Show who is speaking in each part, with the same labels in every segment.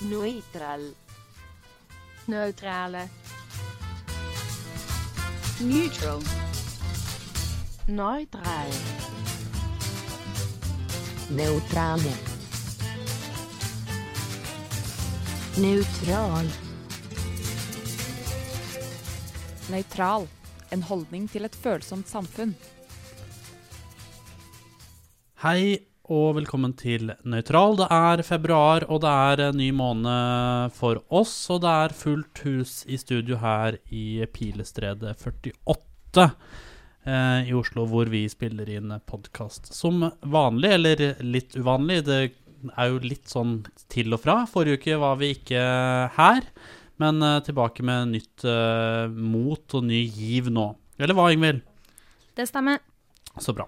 Speaker 1: Neutral.
Speaker 2: Neutrale.
Speaker 1: Neutral.
Speaker 2: Neutral.
Speaker 1: Neutrale. Neutral.
Speaker 3: Nøytral. En holdning til et følsomt samfunn.
Speaker 4: Hei og velkommen til Nøytral. Det er februar, og det er en ny måned for oss. Og det er fullt hus i studio her i Pilestredet 48 eh, i Oslo, hvor vi spiller inn podkast som vanlig, eller litt uvanlig. Det er jo litt sånn til og fra. Forrige uke var vi ikke her, men eh, tilbake med nytt eh, mot og ny giv nå. Eller hva, Ingvild?
Speaker 2: Det stemmer.
Speaker 4: Så bra.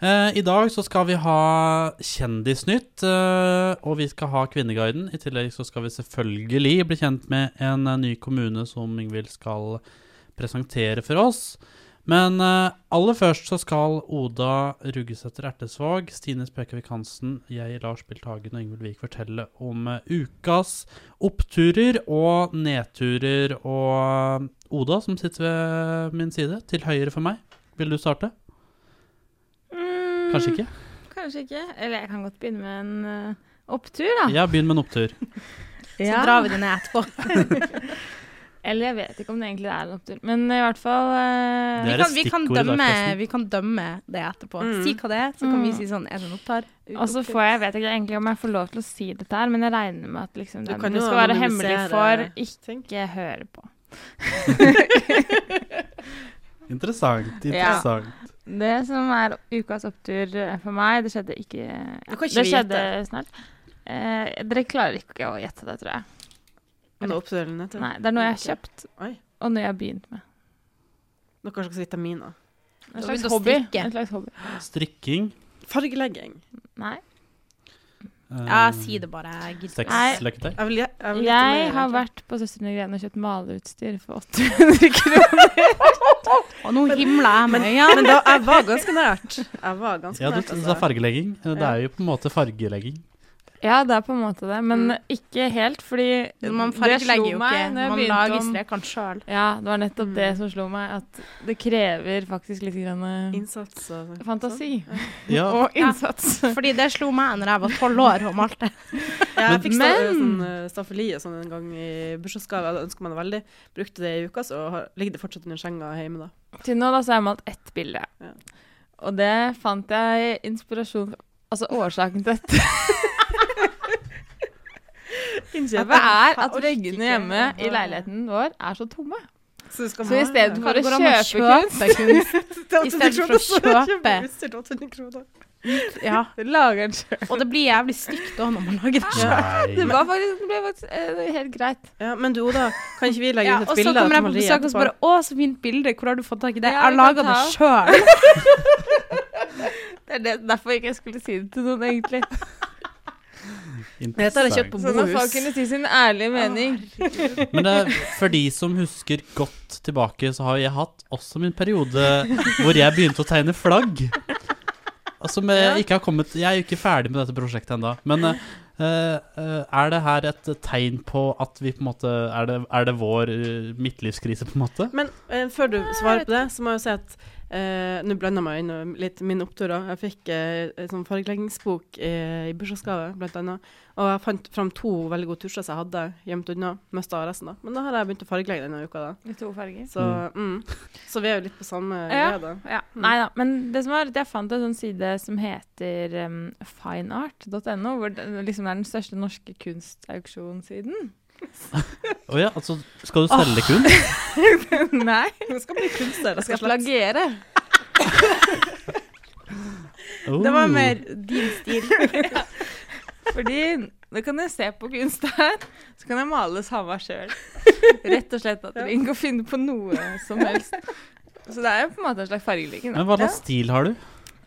Speaker 4: Eh, I dag så skal vi ha Kjendisnytt, eh, og vi skal ha Kvinneguiden. I tillegg så skal vi selvfølgelig bli kjent med en eh, ny kommune som Ingvild skal presentere for oss. Men eh, aller først så skal Oda Ruggesæter Ertesvåg, Stine Spekevik Hansen, jeg, Lars Bilthagen og Ingvild Wiik fortelle om eh, ukas oppturer og nedturer. Og eh, Oda, som sitter ved min side, til høyre for meg, vil du starte?
Speaker 2: Mm.
Speaker 4: Kanskje ikke?
Speaker 5: Mm, Kanskje ikke. Eller jeg kan godt begynne med en eh, opptur, da.
Speaker 4: Ja, begynn med en opptur.
Speaker 5: Så drar vi det ned etterpå. Eller jeg vet ikke om det egentlig er en opptur. Men i hvert fall eh,
Speaker 4: Det
Speaker 5: vi
Speaker 4: er
Speaker 5: kan,
Speaker 4: et
Speaker 5: vi, kan
Speaker 4: stikkord i dag,
Speaker 5: dømme,
Speaker 4: forresten.
Speaker 5: vi kan dømme det etterpå.
Speaker 6: Mm.
Speaker 5: Si hva det er, så kan vi
Speaker 2: Mm.
Speaker 5: si sånn Er det en opptar?
Speaker 2: Og så får jeg, vet ikke egentlig om jeg får lov til å si dette her, men jeg regner med at liksom,
Speaker 6: Du
Speaker 2: det,
Speaker 6: kan
Speaker 2: det
Speaker 6: jo
Speaker 2: skal være hemmelig
Speaker 6: anonymisere
Speaker 2: for
Speaker 6: ting.
Speaker 2: ikke høre på.
Speaker 4: Interessant.
Speaker 2: interessant. Det som er ukas opptur eh, for meg, det skjedde ikke
Speaker 6: Du kan ikke
Speaker 2: Det
Speaker 6: vi
Speaker 2: skjedde snart. Eh, dere klarer ikke å gjette det, tror jeg.
Speaker 6: Noe oppsølende til.
Speaker 2: Nei, det er noe jeg har kjøpt,
Speaker 6: Oi.
Speaker 2: og noe jeg har begynt med.
Speaker 6: Noe kanskje også vitaminer.
Speaker 2: En
Speaker 5: har
Speaker 2: slags
Speaker 5: begynt å
Speaker 2: hobby.
Speaker 5: strikke.
Speaker 2: En slags hobby.
Speaker 4: Strikking.
Speaker 6: Fargelegging.
Speaker 2: Nei.
Speaker 4: eh,
Speaker 5: Ja, si det bare. Jeg gidder ikke.
Speaker 2: Nei.
Speaker 4: Sexleketøy.
Speaker 6: Jeg vil, jeg vil vite
Speaker 2: Jeg
Speaker 6: mer,
Speaker 2: har
Speaker 6: egentlig.
Speaker 2: vært på Søstrene Grene og kjøpt maleutstyr for 800 kroner.
Speaker 5: Og nå himla jeg med
Speaker 6: Men da, jeg var ganske nært. Jeg var ganske
Speaker 4: Ja, du
Speaker 6: nært. altså.
Speaker 4: du sa fargelegging. Eh, Det er jo på en måte fargelegging.
Speaker 2: Ja, det er på en måte det, men ikke helt, fordi
Speaker 5: Mm. Man
Speaker 2: det slo
Speaker 5: fargelegger jo
Speaker 2: meg
Speaker 5: ikke.
Speaker 2: når
Speaker 5: Man
Speaker 2: jeg
Speaker 5: Mm.
Speaker 2: begynte
Speaker 5: lager
Speaker 2: om-
Speaker 5: strekene sjøl.
Speaker 2: Ja, det var nettopp det som slo meg, at det krever faktisk litt grann eh,
Speaker 6: Innsats og sånn.
Speaker 2: fantasi
Speaker 4: Ja,
Speaker 2: og innsats.
Speaker 5: Fordi det slo meg når jeg var tolv år og malte.
Speaker 6: Ja, jeg fikk sta
Speaker 2: Men-
Speaker 6: sånn, eh, staffeli og sånn en gang i bursdagsgave. Det ønsker man veldig. Brukte det i uka, så har, ligger det fortsatt under senga hjemme da.
Speaker 2: Til nå da, så har jeg malt ett bilde.
Speaker 6: Ja.
Speaker 2: Og det fant jeg inspirasjon Altså årsaken til dette
Speaker 6: Innkjøpet.
Speaker 2: er at
Speaker 6: orker
Speaker 2: veggene
Speaker 6: ikke.
Speaker 2: hjemme i leiligheten vår er så tomme.
Speaker 6: Så, du skal
Speaker 2: Så i stedet for å
Speaker 5: Går det an å
Speaker 2: kjøpe kunst,
Speaker 5: kunst? i stedet for å kjøpe.
Speaker 6: utstyr til 800 kroner.
Speaker 5: Ja.
Speaker 2: lager en sjøl.
Speaker 5: Og det blir jævlig stygt da når man lager det sjøl.
Speaker 2: Det
Speaker 4: nei.
Speaker 2: var faktisk, det ble faktisk eh, helt greit.
Speaker 6: Ja, men du Oda, kan ikke vi legge
Speaker 5: Ja,
Speaker 6: ut
Speaker 5: og
Speaker 6: et
Speaker 5: så kommer
Speaker 6: bilde til
Speaker 5: jeg på
Speaker 6: Marie
Speaker 5: besøk og så bare
Speaker 6: etterpå?
Speaker 5: Å, så fint bilde. Hvor har du fått tak i det?
Speaker 2: Ja,
Speaker 5: Jeg har
Speaker 2: vi
Speaker 5: laga
Speaker 2: kan
Speaker 5: det
Speaker 2: ta
Speaker 5: sjøl.
Speaker 2: Det er det, derfor ikke jeg skulle si det til noen, egentlig.
Speaker 6: Dette har jeg kjøpt på
Speaker 2: Sånn at folk
Speaker 6: Bohus.
Speaker 2: kunne si sin ærlige mening.
Speaker 4: Men det, for de som husker godt tilbake, så har jeg hatt også min periode hvor jeg begynte å tegne flagg. Og som jeg ikke har kommet Jeg er jo ikke ferdig med dette prosjektet ennå. Men eh, eh, er det her et tegn på at vi på en måte Er det, er det vår eh, midtlivskrise, på en måte?
Speaker 6: Men eh, før du svarer på det, så må jeg jo si at eh, Nå blander jeg meg inn i litt min opptur. da. Jeg fikk eh, en sånn fargeleggingsbok eh, i bursdagsgave, blant annet. Og jeg fant fram to veldig gode tusjer som jeg hadde gjemt unna. Mista resten, da. Men da har jeg begynt å fargelegge denne uka, da.
Speaker 2: I to farger.
Speaker 6: Så, mm. så vi er jo litt på samme
Speaker 2: Ja.
Speaker 6: greie, da.
Speaker 2: Ja, nei da. Men det som var, at jeg fant en sånn side som heter em, fineart.no, hvor det liksom er den største norske kunstauksjonssiden.
Speaker 4: Å ja, altså Skal du selge kunst?
Speaker 2: nei,
Speaker 6: Hun skal bli kunstner,
Speaker 2: jeg
Speaker 6: rett
Speaker 2: skal
Speaker 6: og slett.
Speaker 2: plagiere.
Speaker 4: Oh.
Speaker 5: Det var mer din stil.
Speaker 2: Fordi nå kan jeg se på kunst her, så kan jeg male samme sjøl. Rett og slett at dere ikke kan finne på noe som helst. Så det er jo på en måte en slags fargelegging. da.
Speaker 4: Men hva slags stil har du?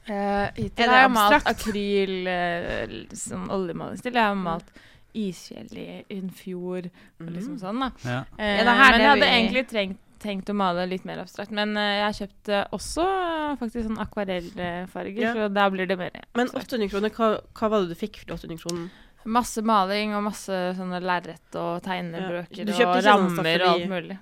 Speaker 2: Eh,
Speaker 5: Er
Speaker 2: Hittil
Speaker 5: det
Speaker 2: har jeg malt
Speaker 5: abstrakt?
Speaker 2: akryl eh, l- som oljemalingsstil. Jeg har malt isfjell i en fjord og
Speaker 6: Mm.
Speaker 2: liksom sånn, da.
Speaker 4: Ja.
Speaker 2: Eh,
Speaker 5: Er det her
Speaker 2: men
Speaker 5: det
Speaker 2: jeg hadde
Speaker 5: vi-
Speaker 2: egentlig trengt, tenkt å male litt mer abstrakt. Men eh, jeg har kjøpt eh, også eh, faktisk sånn akvarellfarger,
Speaker 6: Ja.
Speaker 2: så da blir det mer
Speaker 6: Men 800 kroner, hva, hva var det du fikk for de 800 kroner?
Speaker 5: Masse maling og masse sånne lerret og
Speaker 6: Ja.
Speaker 5: tegnebrøker
Speaker 6: Du kjøpte
Speaker 5: og
Speaker 6: ikke sånn
Speaker 5: rammer og
Speaker 6: staffeli?
Speaker 5: alt mulig.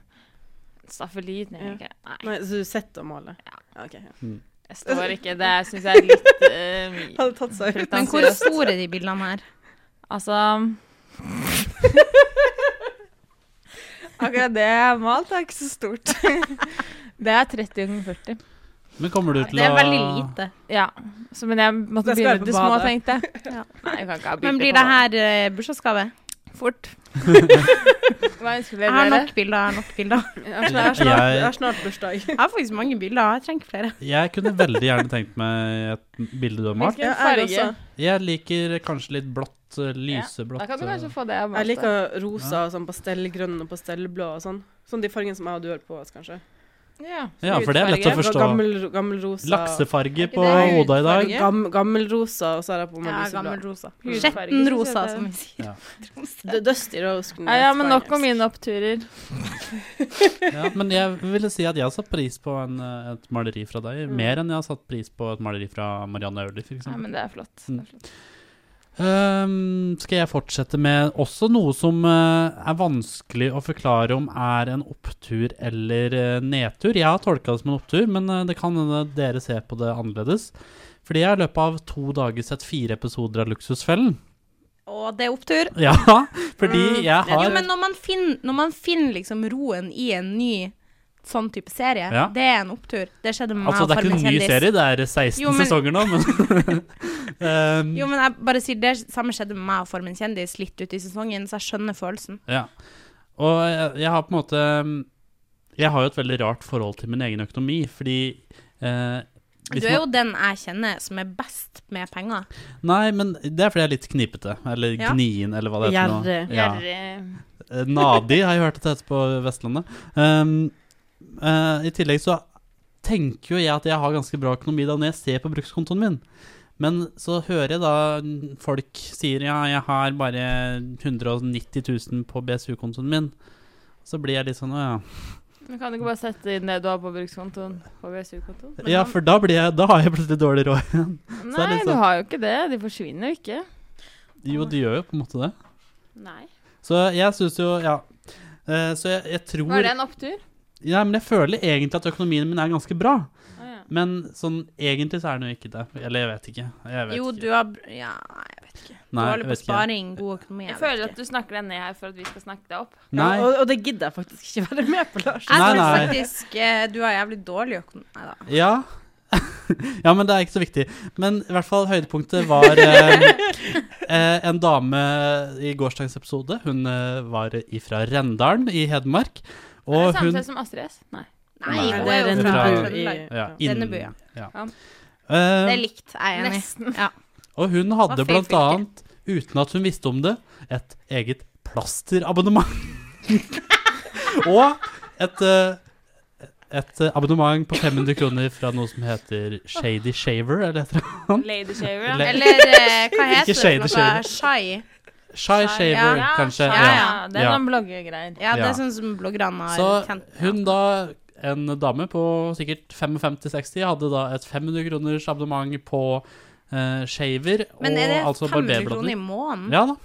Speaker 5: Staffeli trenger jeg ikke. Nei,
Speaker 6: Nei, så du sitter og maler? Ja. ok, ja.
Speaker 5: jeg står ikke. Det syns jeg er litt eh, mye.
Speaker 6: Hadde tatt seg ut.
Speaker 5: Men
Speaker 7: Men hvor store er de bildene her?
Speaker 5: Altså
Speaker 2: Akkurat det jeg har malt, er ikke så stort.
Speaker 5: Det er 30 ganger 40.
Speaker 4: Men kommer du til
Speaker 7: Det er veldig
Speaker 4: å
Speaker 7: lite.
Speaker 5: Ja. Så, men jeg måtte
Speaker 6: Da
Speaker 5: begynne
Speaker 6: skal jeg
Speaker 5: med
Speaker 6: på
Speaker 5: de små,
Speaker 6: badet.
Speaker 5: tenkte jeg. Nei, jeg kan ikke ha bilder
Speaker 7: Men blir det her eh, bursdagsgave?
Speaker 5: fort? Hva
Speaker 7: Jeg
Speaker 5: ønsker dere
Speaker 7: har
Speaker 5: dere?
Speaker 7: nok bilder. Jeg har nok bilder.
Speaker 6: Jeg har snart, jeg har snart, jeg har snart bursdag.
Speaker 7: Jeg har faktisk mange bilder. Jeg trenger flere.
Speaker 4: Jeg kunne veldig gjerne tenkt meg et bilde du har malt.
Speaker 5: Hvilken
Speaker 6: Ja, jeg
Speaker 5: farge?
Speaker 6: også.
Speaker 4: Jeg liker kanskje litt blått, eh, lyseblått.
Speaker 5: Da kan du
Speaker 4: eh,
Speaker 5: kanskje få det.
Speaker 6: Jeg liker rosa og sånn pastellgrønn og pastellblå og sånn. Sånn de fargene som jeg og du har på oss, kanskje. Sånn
Speaker 5: Ja,
Speaker 4: Ja, for det er lett å
Speaker 5: hudfarge.
Speaker 4: forstå.
Speaker 6: Gammel, gammelrosa.
Speaker 4: Laksefarge
Speaker 5: ikke
Speaker 4: på
Speaker 5: det
Speaker 4: hodet i dag.
Speaker 5: hudfarge?
Speaker 6: Gam, gammelrosa, og så har jeg på meg
Speaker 7: Ja,
Speaker 6: lyseblå.
Speaker 7: gammel rosa.
Speaker 5: Hudfarge,
Speaker 7: Skjetten
Speaker 5: synes
Speaker 7: rosa,
Speaker 5: jeg det er.
Speaker 7: som vi sier.
Speaker 6: D- Dusty Rose.
Speaker 5: Ja, ja, men nok om mine oppturer.
Speaker 4: Ja, men jeg ville si at jeg har satt pris på en, eh, et maleri fra deg. Mer enn jeg har satt pris på et maleri fra Marianne Aulie, f.eks.
Speaker 5: Nei, Mm. men det er flott. Det er flott.
Speaker 4: Ehm, skal jeg fortsette med også noe som eh, er vanskelig å forklare om er en opptur eller eh, nedtur. Jeg har tolka det som en opptur, men eh, det kan hende dere ser på det annerledes. Fordi jeg har i løpet av to dager sett fire episoder av Luksusfellen.
Speaker 7: Å, det er opptur.
Speaker 4: Ja, fordi jeg har
Speaker 7: Mm. Jo, men når man finner, når man finner liksom roen i en ny sånn type serie,
Speaker 4: Ja.
Speaker 7: det er en opptur. Det skjedde med
Speaker 4: Altså,
Speaker 7: meg
Speaker 4: det er
Speaker 7: og ah,
Speaker 4: ikke
Speaker 7: Farmen
Speaker 4: en ny
Speaker 7: kjendis.
Speaker 4: serie, det er 16
Speaker 7: Jo, men-
Speaker 4: sesonger nå, men Ehm,
Speaker 7: Jo, men jeg bare sier det samme skjedde med meg og Farmen kjendis litt ut i sesongen, så jeg skjønner følelsen.
Speaker 4: Ja. Og jeg, jeg har på en måte ehm, Jeg har jo et veldig rart forhold til min egen økonomi, fordi eh, hvis
Speaker 7: Du er
Speaker 4: man-
Speaker 7: jo den jeg kjenner som er best med penger.
Speaker 4: Nei, men det er fordi jeg er litt knipete. Eller
Speaker 7: Ja.
Speaker 4: gnien, eller hva det heter nå.
Speaker 5: Mm.
Speaker 6: Gjerrig.
Speaker 4: Ja. Eh, Nadi har jeg hørt at det heter på Vestlandet. Um, eh, I tillegg så tenker jo jeg at jeg har ganske bra økonomi da når jeg ser på brukskontoen min. Men så hører jeg da mm, folk sier ja, jeg har bare 190 000 på BSU-kontoen min. Så blir jeg litt sånn å ja.
Speaker 5: Men kan du ikke bare sette inn det du har på brukskontoen på BSU-kontoen?
Speaker 4: Ja, for da, blir jeg, da har jeg plutselig dårlig råd. er det
Speaker 5: Nei,
Speaker 4: litt
Speaker 5: du
Speaker 4: sånn-
Speaker 5: har jo ikke det. De forsvinner jo ikke.
Speaker 4: Jo, det gjør jo på en måte det.
Speaker 5: Nei.
Speaker 4: Så jeg syns jo Ja. Eh, Så jeg, jeg tror
Speaker 5: Var det en opptur?
Speaker 4: Ja, men jeg føler egentlig at økonomien min er ganske bra.
Speaker 5: Å, ja.
Speaker 4: Men sånn egentlig så er den jo ikke det. Eller jeg vet ikke. Jeg vet
Speaker 7: Jo,
Speaker 4: ikke.
Speaker 7: du har br- Ja, jeg vet ikke.
Speaker 4: Nei,
Speaker 7: Dårlig
Speaker 4: jeg
Speaker 7: på
Speaker 4: vet ikke.
Speaker 7: sparing, god økonomi.
Speaker 5: Jeg
Speaker 7: Jeg
Speaker 5: føler
Speaker 7: vet
Speaker 5: at
Speaker 7: ikke.
Speaker 5: du snakker deg ned her for at vi skal snakke deg opp.
Speaker 4: Nei.
Speaker 6: Og, og det gidder jeg faktisk ikke være med på, Lars.
Speaker 4: Nei,
Speaker 7: Jeg tror
Speaker 4: nei.
Speaker 7: faktisk eh, du har jævlig dårlig økonomi. Nei da.
Speaker 4: Ja. ja, men det er ikke så viktig. Men i hvert fall høydepunktet var eh, eh, en dame i gårsdagens episode. Hun eh, var ifra Rendalen i Hedmark.
Speaker 5: er det
Speaker 4: Og hun
Speaker 5: samme sted som Astrid S? Nei.
Speaker 7: Nei,
Speaker 4: Nei,
Speaker 7: det er jo fra
Speaker 4: fra-
Speaker 7: Trøndelag.
Speaker 4: ja,
Speaker 7: Denne
Speaker 4: inn-
Speaker 7: byen.
Speaker 4: Ja.
Speaker 5: Ja.
Speaker 4: Eh,
Speaker 7: Det er likt, jeg er enig.
Speaker 4: Og hun hadde
Speaker 7: Var feil
Speaker 4: blant
Speaker 7: fylke.
Speaker 4: annet, uten at hun visste om det, et eget plasterabonnement. og et, eh, et eh, abonnement på 500 kroner fra noe som heter Shady Shaver, eller heter det?
Speaker 5: Lady Shaver, ja.
Speaker 4: Le-
Speaker 7: Eller eh, hva heter
Speaker 4: shade,
Speaker 7: det? for
Speaker 4: shade.
Speaker 7: noe? Shy?
Speaker 4: Shy Shaver,
Speaker 7: ja,
Speaker 4: kanskje.
Speaker 7: shy,
Speaker 5: Ja,
Speaker 4: Ja.
Speaker 5: ja. Det er
Speaker 4: Ja.
Speaker 5: noen bloggegreier.
Speaker 7: Ja, det
Speaker 4: Ja.
Speaker 7: er sånn som bloggerne har
Speaker 4: Så
Speaker 7: kjent. ja.
Speaker 4: hun da, en dame på sikkert 55-60, hadde da et 500 kroners abonnement på eh, shaver,
Speaker 7: Men er det
Speaker 4: og altså
Speaker 7: 500 kroner i
Speaker 4: barberblader.
Speaker 7: måneden?
Speaker 4: Ja da.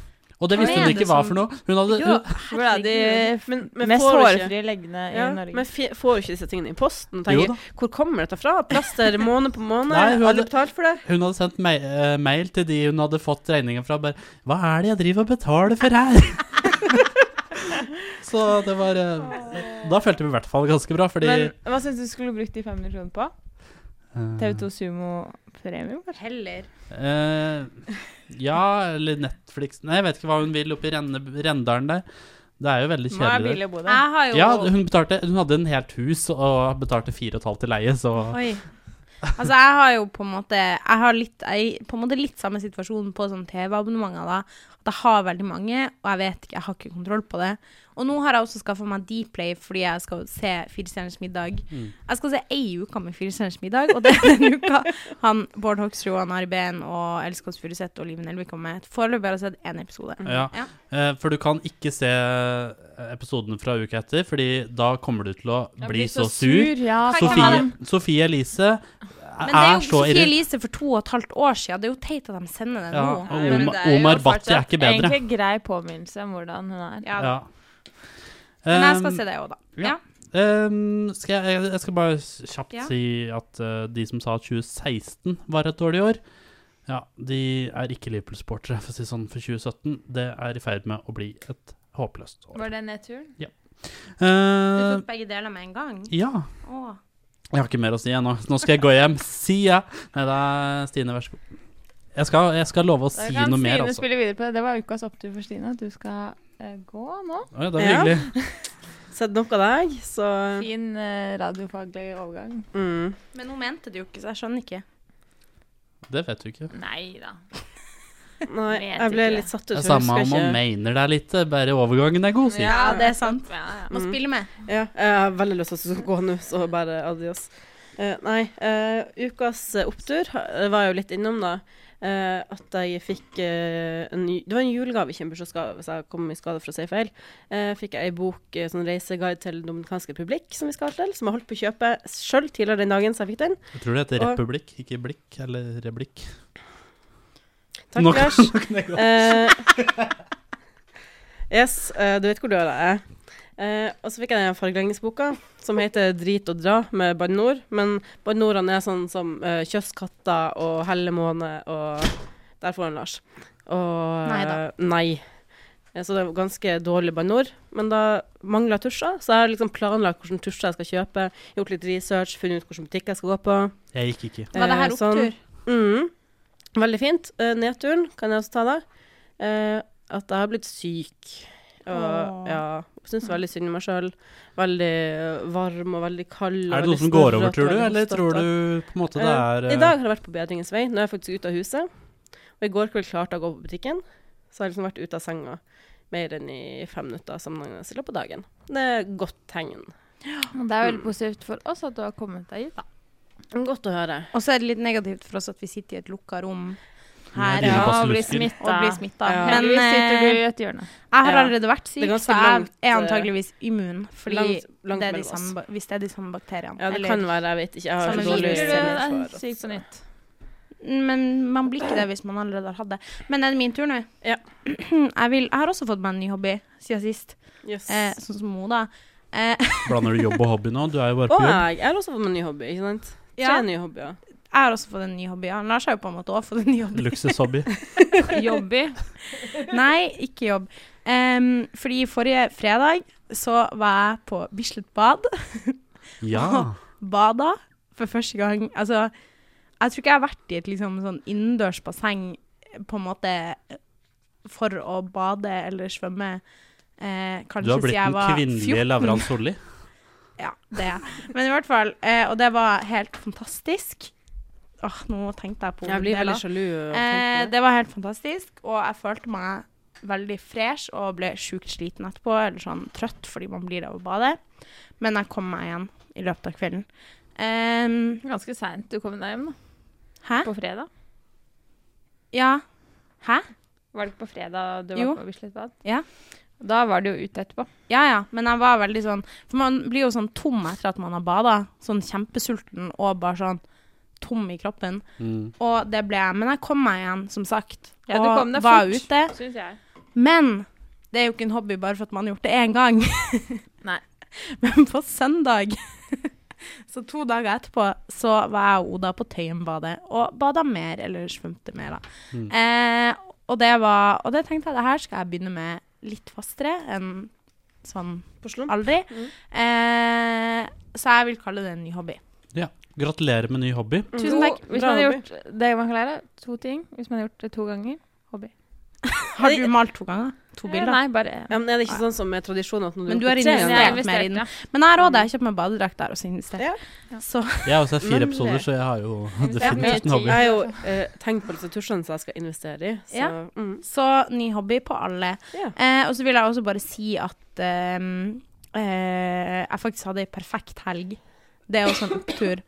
Speaker 4: Og det
Speaker 7: Hva
Speaker 4: visste
Speaker 7: er
Speaker 4: hun
Speaker 7: det
Speaker 4: ikke hva
Speaker 7: som-
Speaker 4: for noe. Hun hadde,
Speaker 7: Jo,
Speaker 5: Hvor er de
Speaker 7: herregud.
Speaker 5: f-
Speaker 6: Men, men
Speaker 5: mest
Speaker 6: får du ikke
Speaker 5: hårfrie leggene
Speaker 6: ja,
Speaker 5: i
Speaker 6: men
Speaker 4: Eh,
Speaker 5: Norge?
Speaker 6: fe- får du ikke disse tingene i posten? Og
Speaker 4: Jo
Speaker 6: tenker, hvor kommer dette fra? Plaster måned på måned?
Speaker 4: Nei, hun
Speaker 6: har du
Speaker 4: hadde-
Speaker 6: betalt for det?
Speaker 4: Hun hadde sendt mei- eh, mail til de hun hadde fått regningen fra. Bare, Hva er det jeg driver og betaler for her? så det var eh, Da følte vi i hvert fall ganske bra, fordi
Speaker 5: Men hva syns du skulle brukt de 500 kronene på?
Speaker 4: eh,
Speaker 5: TV2 Sumo Premium?
Speaker 7: Heller.
Speaker 4: eh, Ja, eller Netflix Nei, jeg vet ikke hva hun vil oppe i Renne, Rendalen der. Det er jo veldig
Speaker 5: Må være
Speaker 4: kjedelig.
Speaker 5: billig å bo der.
Speaker 7: Jeg har jo
Speaker 4: Ja, hun, betalte, hun hadde en helt hus og betalte fire og et halvt til leie, så
Speaker 7: Oi. Altså, jeg har jo på en måte Jeg har litt, jeg, på en måte litt samme situasjon på sånn TV-abonnementer. da. At jeg har veldig mange, og jeg vet ikke, jeg har ikke kontroll på det. Og nå har jeg også skaffa meg Dplay fordi jeg skal se Fire stjerners middag.
Speaker 4: mm,
Speaker 7: Jeg skal se ei uke med Fire stjerners middag, og det er den uka han Bård Hoksrud, han Ari Behn og Else Kåss Furuseth og Liv Nelvik kommer med. Foreløpig har jeg sett én episode.
Speaker 4: Ja.
Speaker 7: Ja.
Speaker 4: Eh, for du kan ikke se eh, episoden fra uka etter, Fordi da kommer du til å bli så sur.
Speaker 5: Ja,
Speaker 4: Sofie, Sofie Elise
Speaker 7: Men det er jo
Speaker 4: er så
Speaker 7: Sofie
Speaker 4: irriterende.
Speaker 7: Elise for to og et halvt år siden. Det er jo teit at de sender den
Speaker 4: Ja,
Speaker 7: nå.
Speaker 4: og
Speaker 2: Men
Speaker 4: Omar,
Speaker 2: det er jo
Speaker 4: Omar Bhatti er
Speaker 2: fortsatt
Speaker 4: ikke bedre.
Speaker 2: Egentlig grei påminnelse om hvordan hun er.
Speaker 7: Ja.
Speaker 4: Ja.
Speaker 7: Men jeg skal
Speaker 4: Um,
Speaker 7: se det òg, da.
Speaker 4: ja.
Speaker 7: Ja.
Speaker 4: Ehm, skal jeg, jeg- jeg skal bare s- kjapt
Speaker 7: Ja.
Speaker 4: si at eh, de som sa at 2016 var et dårlig år, ja, de er ikke Liverpool-sportere, for å si det sånn, for 2017. Det er i ferd med å bli et håpløst år.
Speaker 2: Var det nedturen?
Speaker 7: Du
Speaker 4: Eh,
Speaker 7: tok begge deler med en gang?
Speaker 4: ja.
Speaker 7: Åh.
Speaker 4: Jeg har ikke mer å si ennå. Nå skal jeg gå hjem. Si ja! Nei da, Stine, vær så god. Jeg skal, jeg skal love å si noe mer,
Speaker 2: Stine
Speaker 4: altså.
Speaker 2: spille videre på det. Det var ukas opptur for Stine. Du skal eh, gå nå.
Speaker 4: Oi, det var
Speaker 6: Ja.
Speaker 4: hyggelig.
Speaker 6: Sett nok av deg, så
Speaker 2: Fin eh, radiofaglig overgang.
Speaker 6: mm.
Speaker 7: Men hun mente det jo ikke, så jeg skjønner ikke.
Speaker 4: Det vet du ikke.
Speaker 2: Nei da.
Speaker 6: Nei,
Speaker 2: Vet
Speaker 6: jeg ble
Speaker 2: ikke.
Speaker 6: litt satt ut.
Speaker 4: Det er
Speaker 6: for jeg
Speaker 4: samme om
Speaker 6: husker
Speaker 4: man
Speaker 6: ikke-
Speaker 4: mener det er litt, eh, bare overgangen er god, sier jeg.
Speaker 7: Ja, det er sant. Må
Speaker 6: Mm.
Speaker 7: spille med.
Speaker 6: Ja, jeg har veldig lyst til at du skal gå nå, så bare adios. Eh, nei, eh, ukas eh, opptur ha- eh, var jeg jo litt innom, da. eh, at jeg fikk eh, en, ju- Det var en julegave, ikke en bursdagsgave, hvis jeg kom i skade for å si feil. Eh, fikk jeg ei bok, eh, sånn reiseguide til dominikanske republikk, som vi skal til, som jeg holdt på å kjøpe sjøl tidligere den dagen, så jeg fikk den.
Speaker 4: Jeg tror det heter
Speaker 6: Og-
Speaker 4: republikk, ikke blikk eller reblikk.
Speaker 6: Takk,
Speaker 4: Nå kan-
Speaker 6: Lars. Eh, yes, eh, du vet hvor døra er. Eh, og så fikk jeg den fargeleggingsboka som heter 'Drit og dra' med banneord. Men banneordene er sånn som eh, kjøss katta og hellemåne og Der får han Lars. Og
Speaker 7: Neida.
Speaker 6: eh, nei. Eh, Så det er ganske dårlig banneord. Men da mangler jeg tusjer, så jeg har liksom planlagt hvilke tusjer jeg skal kjøpe. Gjort litt research, funnet ut hvilken butikk jeg skal gå på.
Speaker 4: Jeg gikk ikke.
Speaker 7: Var det
Speaker 6: Eh,
Speaker 7: her
Speaker 6: sånn.
Speaker 7: opptur?
Speaker 6: Mm. Veldig fint. Eh, nedturen kan jeg også ta da. Eh, at jeg har blitt syk. Og
Speaker 7: Åh.
Speaker 6: ja, syns veldig synd i meg sjøl. Veldig eh, varm og veldig kald. og
Speaker 4: Er det
Speaker 6: veldig
Speaker 4: noe som går over,
Speaker 6: snørrete og
Speaker 4: tror du?
Speaker 6: veldig
Speaker 4: Eller
Speaker 6: hostete.
Speaker 4: tror du på en måte det
Speaker 6: Eh,
Speaker 4: er
Speaker 6: I dag har det vært på bedringens vei. Nå er jeg faktisk ute av huset. Og i går kveld klarte jeg å gå på butikken, så jeg har liksom vært ute av senga mer enn i fem minutter sammenhengende i løpet av dagen. Det er et godt tegn.
Speaker 2: Det er veldig positivt for oss at du har kommet deg hit, da.
Speaker 6: Godt å høre.
Speaker 7: Og så er det litt negativt for oss at vi sitter i et lukka rom
Speaker 4: Med
Speaker 7: her
Speaker 4: dine
Speaker 7: ja,
Speaker 4: basillusker.
Speaker 7: og blir smitta. Og blir smittet.
Speaker 6: Ja.
Speaker 7: Men
Speaker 2: Heldigvis sitter du
Speaker 7: eh,
Speaker 2: i et hjørne.
Speaker 7: jeg har
Speaker 6: Ja.
Speaker 7: allerede vært
Speaker 6: Det
Speaker 7: syk,
Speaker 6: er
Speaker 7: så
Speaker 6: ganske
Speaker 7: jeg
Speaker 6: langt,
Speaker 7: er
Speaker 6: eh,
Speaker 7: antageligvis immun. Fordi
Speaker 6: langt- langt
Speaker 7: det er de
Speaker 6: mellom
Speaker 7: samme, ba- hvis det er de samme bakteriene.
Speaker 6: Ja, det
Speaker 7: Eller-
Speaker 6: kan være, jeg vet ikke. Jeg har
Speaker 7: Samme
Speaker 6: så dårlig
Speaker 7: virus.
Speaker 6: sendefar,
Speaker 2: er syk
Speaker 6: altså.
Speaker 2: på nytt.
Speaker 7: Men man blir ikke det hvis man allerede har hatt det. Men er det min tur nå?
Speaker 6: Ja.
Speaker 7: Jeg, vil, jeg har også fått meg en ny hobby siden sist,
Speaker 6: Yes.
Speaker 7: eh, sånn som Mo, da. Eh,
Speaker 4: Blander du jobb og hobby nå? Du er jo bare
Speaker 6: Og
Speaker 4: på jobb.
Speaker 6: jeg, jeg har også fått meg en ny hobby, ikke sant? Tre
Speaker 7: Ja.
Speaker 6: nye hobbyer.
Speaker 7: jeg har også fått en ny hobby. Han Lars har jo på en måte også fått en ny hobby.
Speaker 4: Luksushobby.
Speaker 2: Jobby.
Speaker 7: Nei, ikke jobb. Em, fordi forrige fredag så var jeg på Bislett bad.
Speaker 4: Ja.
Speaker 7: Bada for første gang. Altså, jeg tror ikke jeg har vært i et liksom sånn innendørs basseng på en måte for å bade eller svømme. Eh,
Speaker 4: Du har
Speaker 7: kanskje siden
Speaker 4: blitt
Speaker 7: jeg
Speaker 4: den
Speaker 7: var 14.
Speaker 4: kvinnelige Lavran Solli.
Speaker 7: Ja, det er jeg. Men i hvert fall. Eh, og det var helt fantastisk. Åh, nå tenkte jeg på
Speaker 6: Jeg blir
Speaker 7: det da.
Speaker 6: veldig sjalu.
Speaker 7: Eh,
Speaker 6: av å tenke på det.
Speaker 7: det var helt fantastisk, og jeg følte meg veldig fresh og ble sjukt sliten etterpå, eller sånn trøtt fordi man blir av å bade. Men jeg kom meg igjen i løpet av kvelden. Em,
Speaker 2: Ganske seint du kom deg hjem, da.
Speaker 7: hæ?
Speaker 2: På fredag.
Speaker 7: Ja. Hæ?
Speaker 2: Var det ikke på fredag du var
Speaker 7: Jo.
Speaker 2: på Bislett bad?
Speaker 7: Ja.
Speaker 2: Da var det jo ute etterpå.
Speaker 7: Ja ja, men jeg var veldig sånn For man blir jo sånn tom etter at man har bada. Sånn kjempesulten og bare sånn tom i kroppen.
Speaker 4: Mm.
Speaker 7: Og det ble jeg. Men jeg kom meg igjen, som sagt.
Speaker 2: Ja, du
Speaker 7: og
Speaker 2: kom deg
Speaker 7: var
Speaker 2: fort.
Speaker 7: ute.
Speaker 2: Syns jeg.
Speaker 7: Men det er jo ikke en hobby bare for at man har gjort det én gang.
Speaker 2: Nei.
Speaker 7: Men på søndag, så to dager etterpå, så var jeg og Oda på Tøyenbadet og bada mer, eller svømte mer, da. Eh, og det var Og det tenkte jeg, det her skal jeg begynne med litt fastere enn sånn
Speaker 6: På slump.
Speaker 7: aldri.
Speaker 2: Mm.
Speaker 7: Eh, så jeg vil kalle det en ny hobby.
Speaker 4: Ja. Gratulerer med ny hobby.
Speaker 7: Tusen takk.
Speaker 2: Hvis
Speaker 6: Bra
Speaker 2: man har
Speaker 6: hobby.
Speaker 2: gjort det man kan lære, to ting. Hvis man har gjort det to ganger, hobby.
Speaker 7: Har du malt to ganger? To
Speaker 2: Eh,
Speaker 7: bilder?
Speaker 2: Nei, bare
Speaker 6: Ja, men er det ikke sånn som med tradisjon at når
Speaker 7: Men du
Speaker 6: gjort
Speaker 7: har
Speaker 6: det tre
Speaker 7: investert.
Speaker 2: Jeg har
Speaker 6: ganger-
Speaker 7: mer
Speaker 2: investert,
Speaker 7: i den.
Speaker 2: ja.
Speaker 7: Men jeg har råd, jeg kjøper meg badedrakt der og så investerer.
Speaker 6: Ja.
Speaker 7: Så
Speaker 4: Jeg har også sett
Speaker 6: Men
Speaker 4: fire
Speaker 6: det-
Speaker 4: episoder, så jeg har jo
Speaker 2: mye
Speaker 4: definitivt en
Speaker 2: tid.
Speaker 4: hobby.
Speaker 6: Jeg har jo eh, tenkt på disse tusjene som jeg skal investere i, så ja.
Speaker 7: Ja.
Speaker 6: Mm,
Speaker 7: Så ny hobby på alle.
Speaker 6: ja.
Speaker 7: Eh, og så vil jeg også bare si at eh, eh, jeg faktisk hadde ei perfekt helg. Det er også en opptur.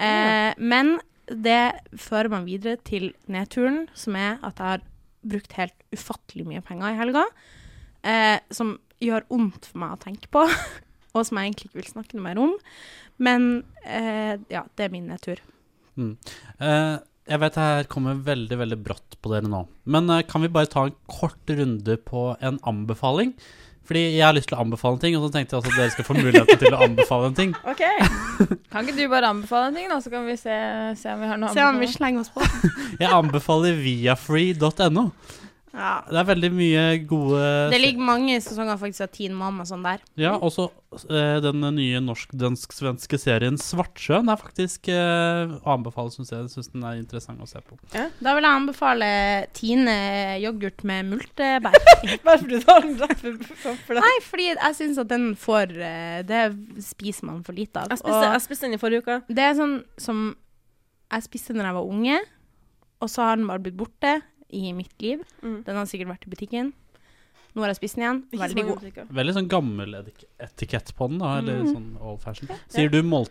Speaker 7: Eh, men det fører meg videre til nedturen, som er at jeg har brukt helt ufattelig mye penger i helga. Eh, som gjør vondt for meg å tenke på, og som jeg egentlig ikke vil snakke noe mer om. Men eh, ja, det er min nedtur.
Speaker 4: Eh, jeg vet det her kommer veldig veldig brått på dere nå. Men eh, kan vi bare ta en kort runde på en anbefaling? Fordi jeg har lyst til å anbefale en ting, og så tenkte jeg også at dere skal få muligheten til å anbefale en ting.
Speaker 6: OK.
Speaker 2: Kan ikke du bare anbefale en ting, da, så kan vi se, se om vi har noe å
Speaker 7: Se om vi
Speaker 2: anbefale?
Speaker 7: slenger oss på.
Speaker 4: Jeg anbefaler viafree.no.
Speaker 7: Ja.
Speaker 4: Det er veldig mye gode
Speaker 7: Det ligger mange sesonger faktisk av Teen Mom og sånn der.
Speaker 4: Ja, også eh, den nye norsk-dansk-svenske serien Svartsjøen er faktisk eh, å anbefale, syns jeg. Jeg Syns den er interessant å se på.
Speaker 7: Da vil jeg anbefale Tine yoghurt med multebær.
Speaker 6: Bare for du tar den rett framfor deg.
Speaker 7: Nei, fordi jeg syns at den får eh, Det spiser man for lite av.
Speaker 6: Jeg spiste, jeg spiste den i forrige uke.
Speaker 7: Og det er sånn som jeg spiste når jeg var unge, og så har den bare blitt borte i mitt liv.
Speaker 6: Mm.
Speaker 7: Den har sikkert vært i butikken. Nå har jeg spist den igjen.
Speaker 6: Ikke så
Speaker 7: Veldig
Speaker 6: mange
Speaker 7: god.
Speaker 6: butikker.
Speaker 4: Veldig sånn gammel etik- etikett på den, da. Eller sånn old fashion. Sier du molte,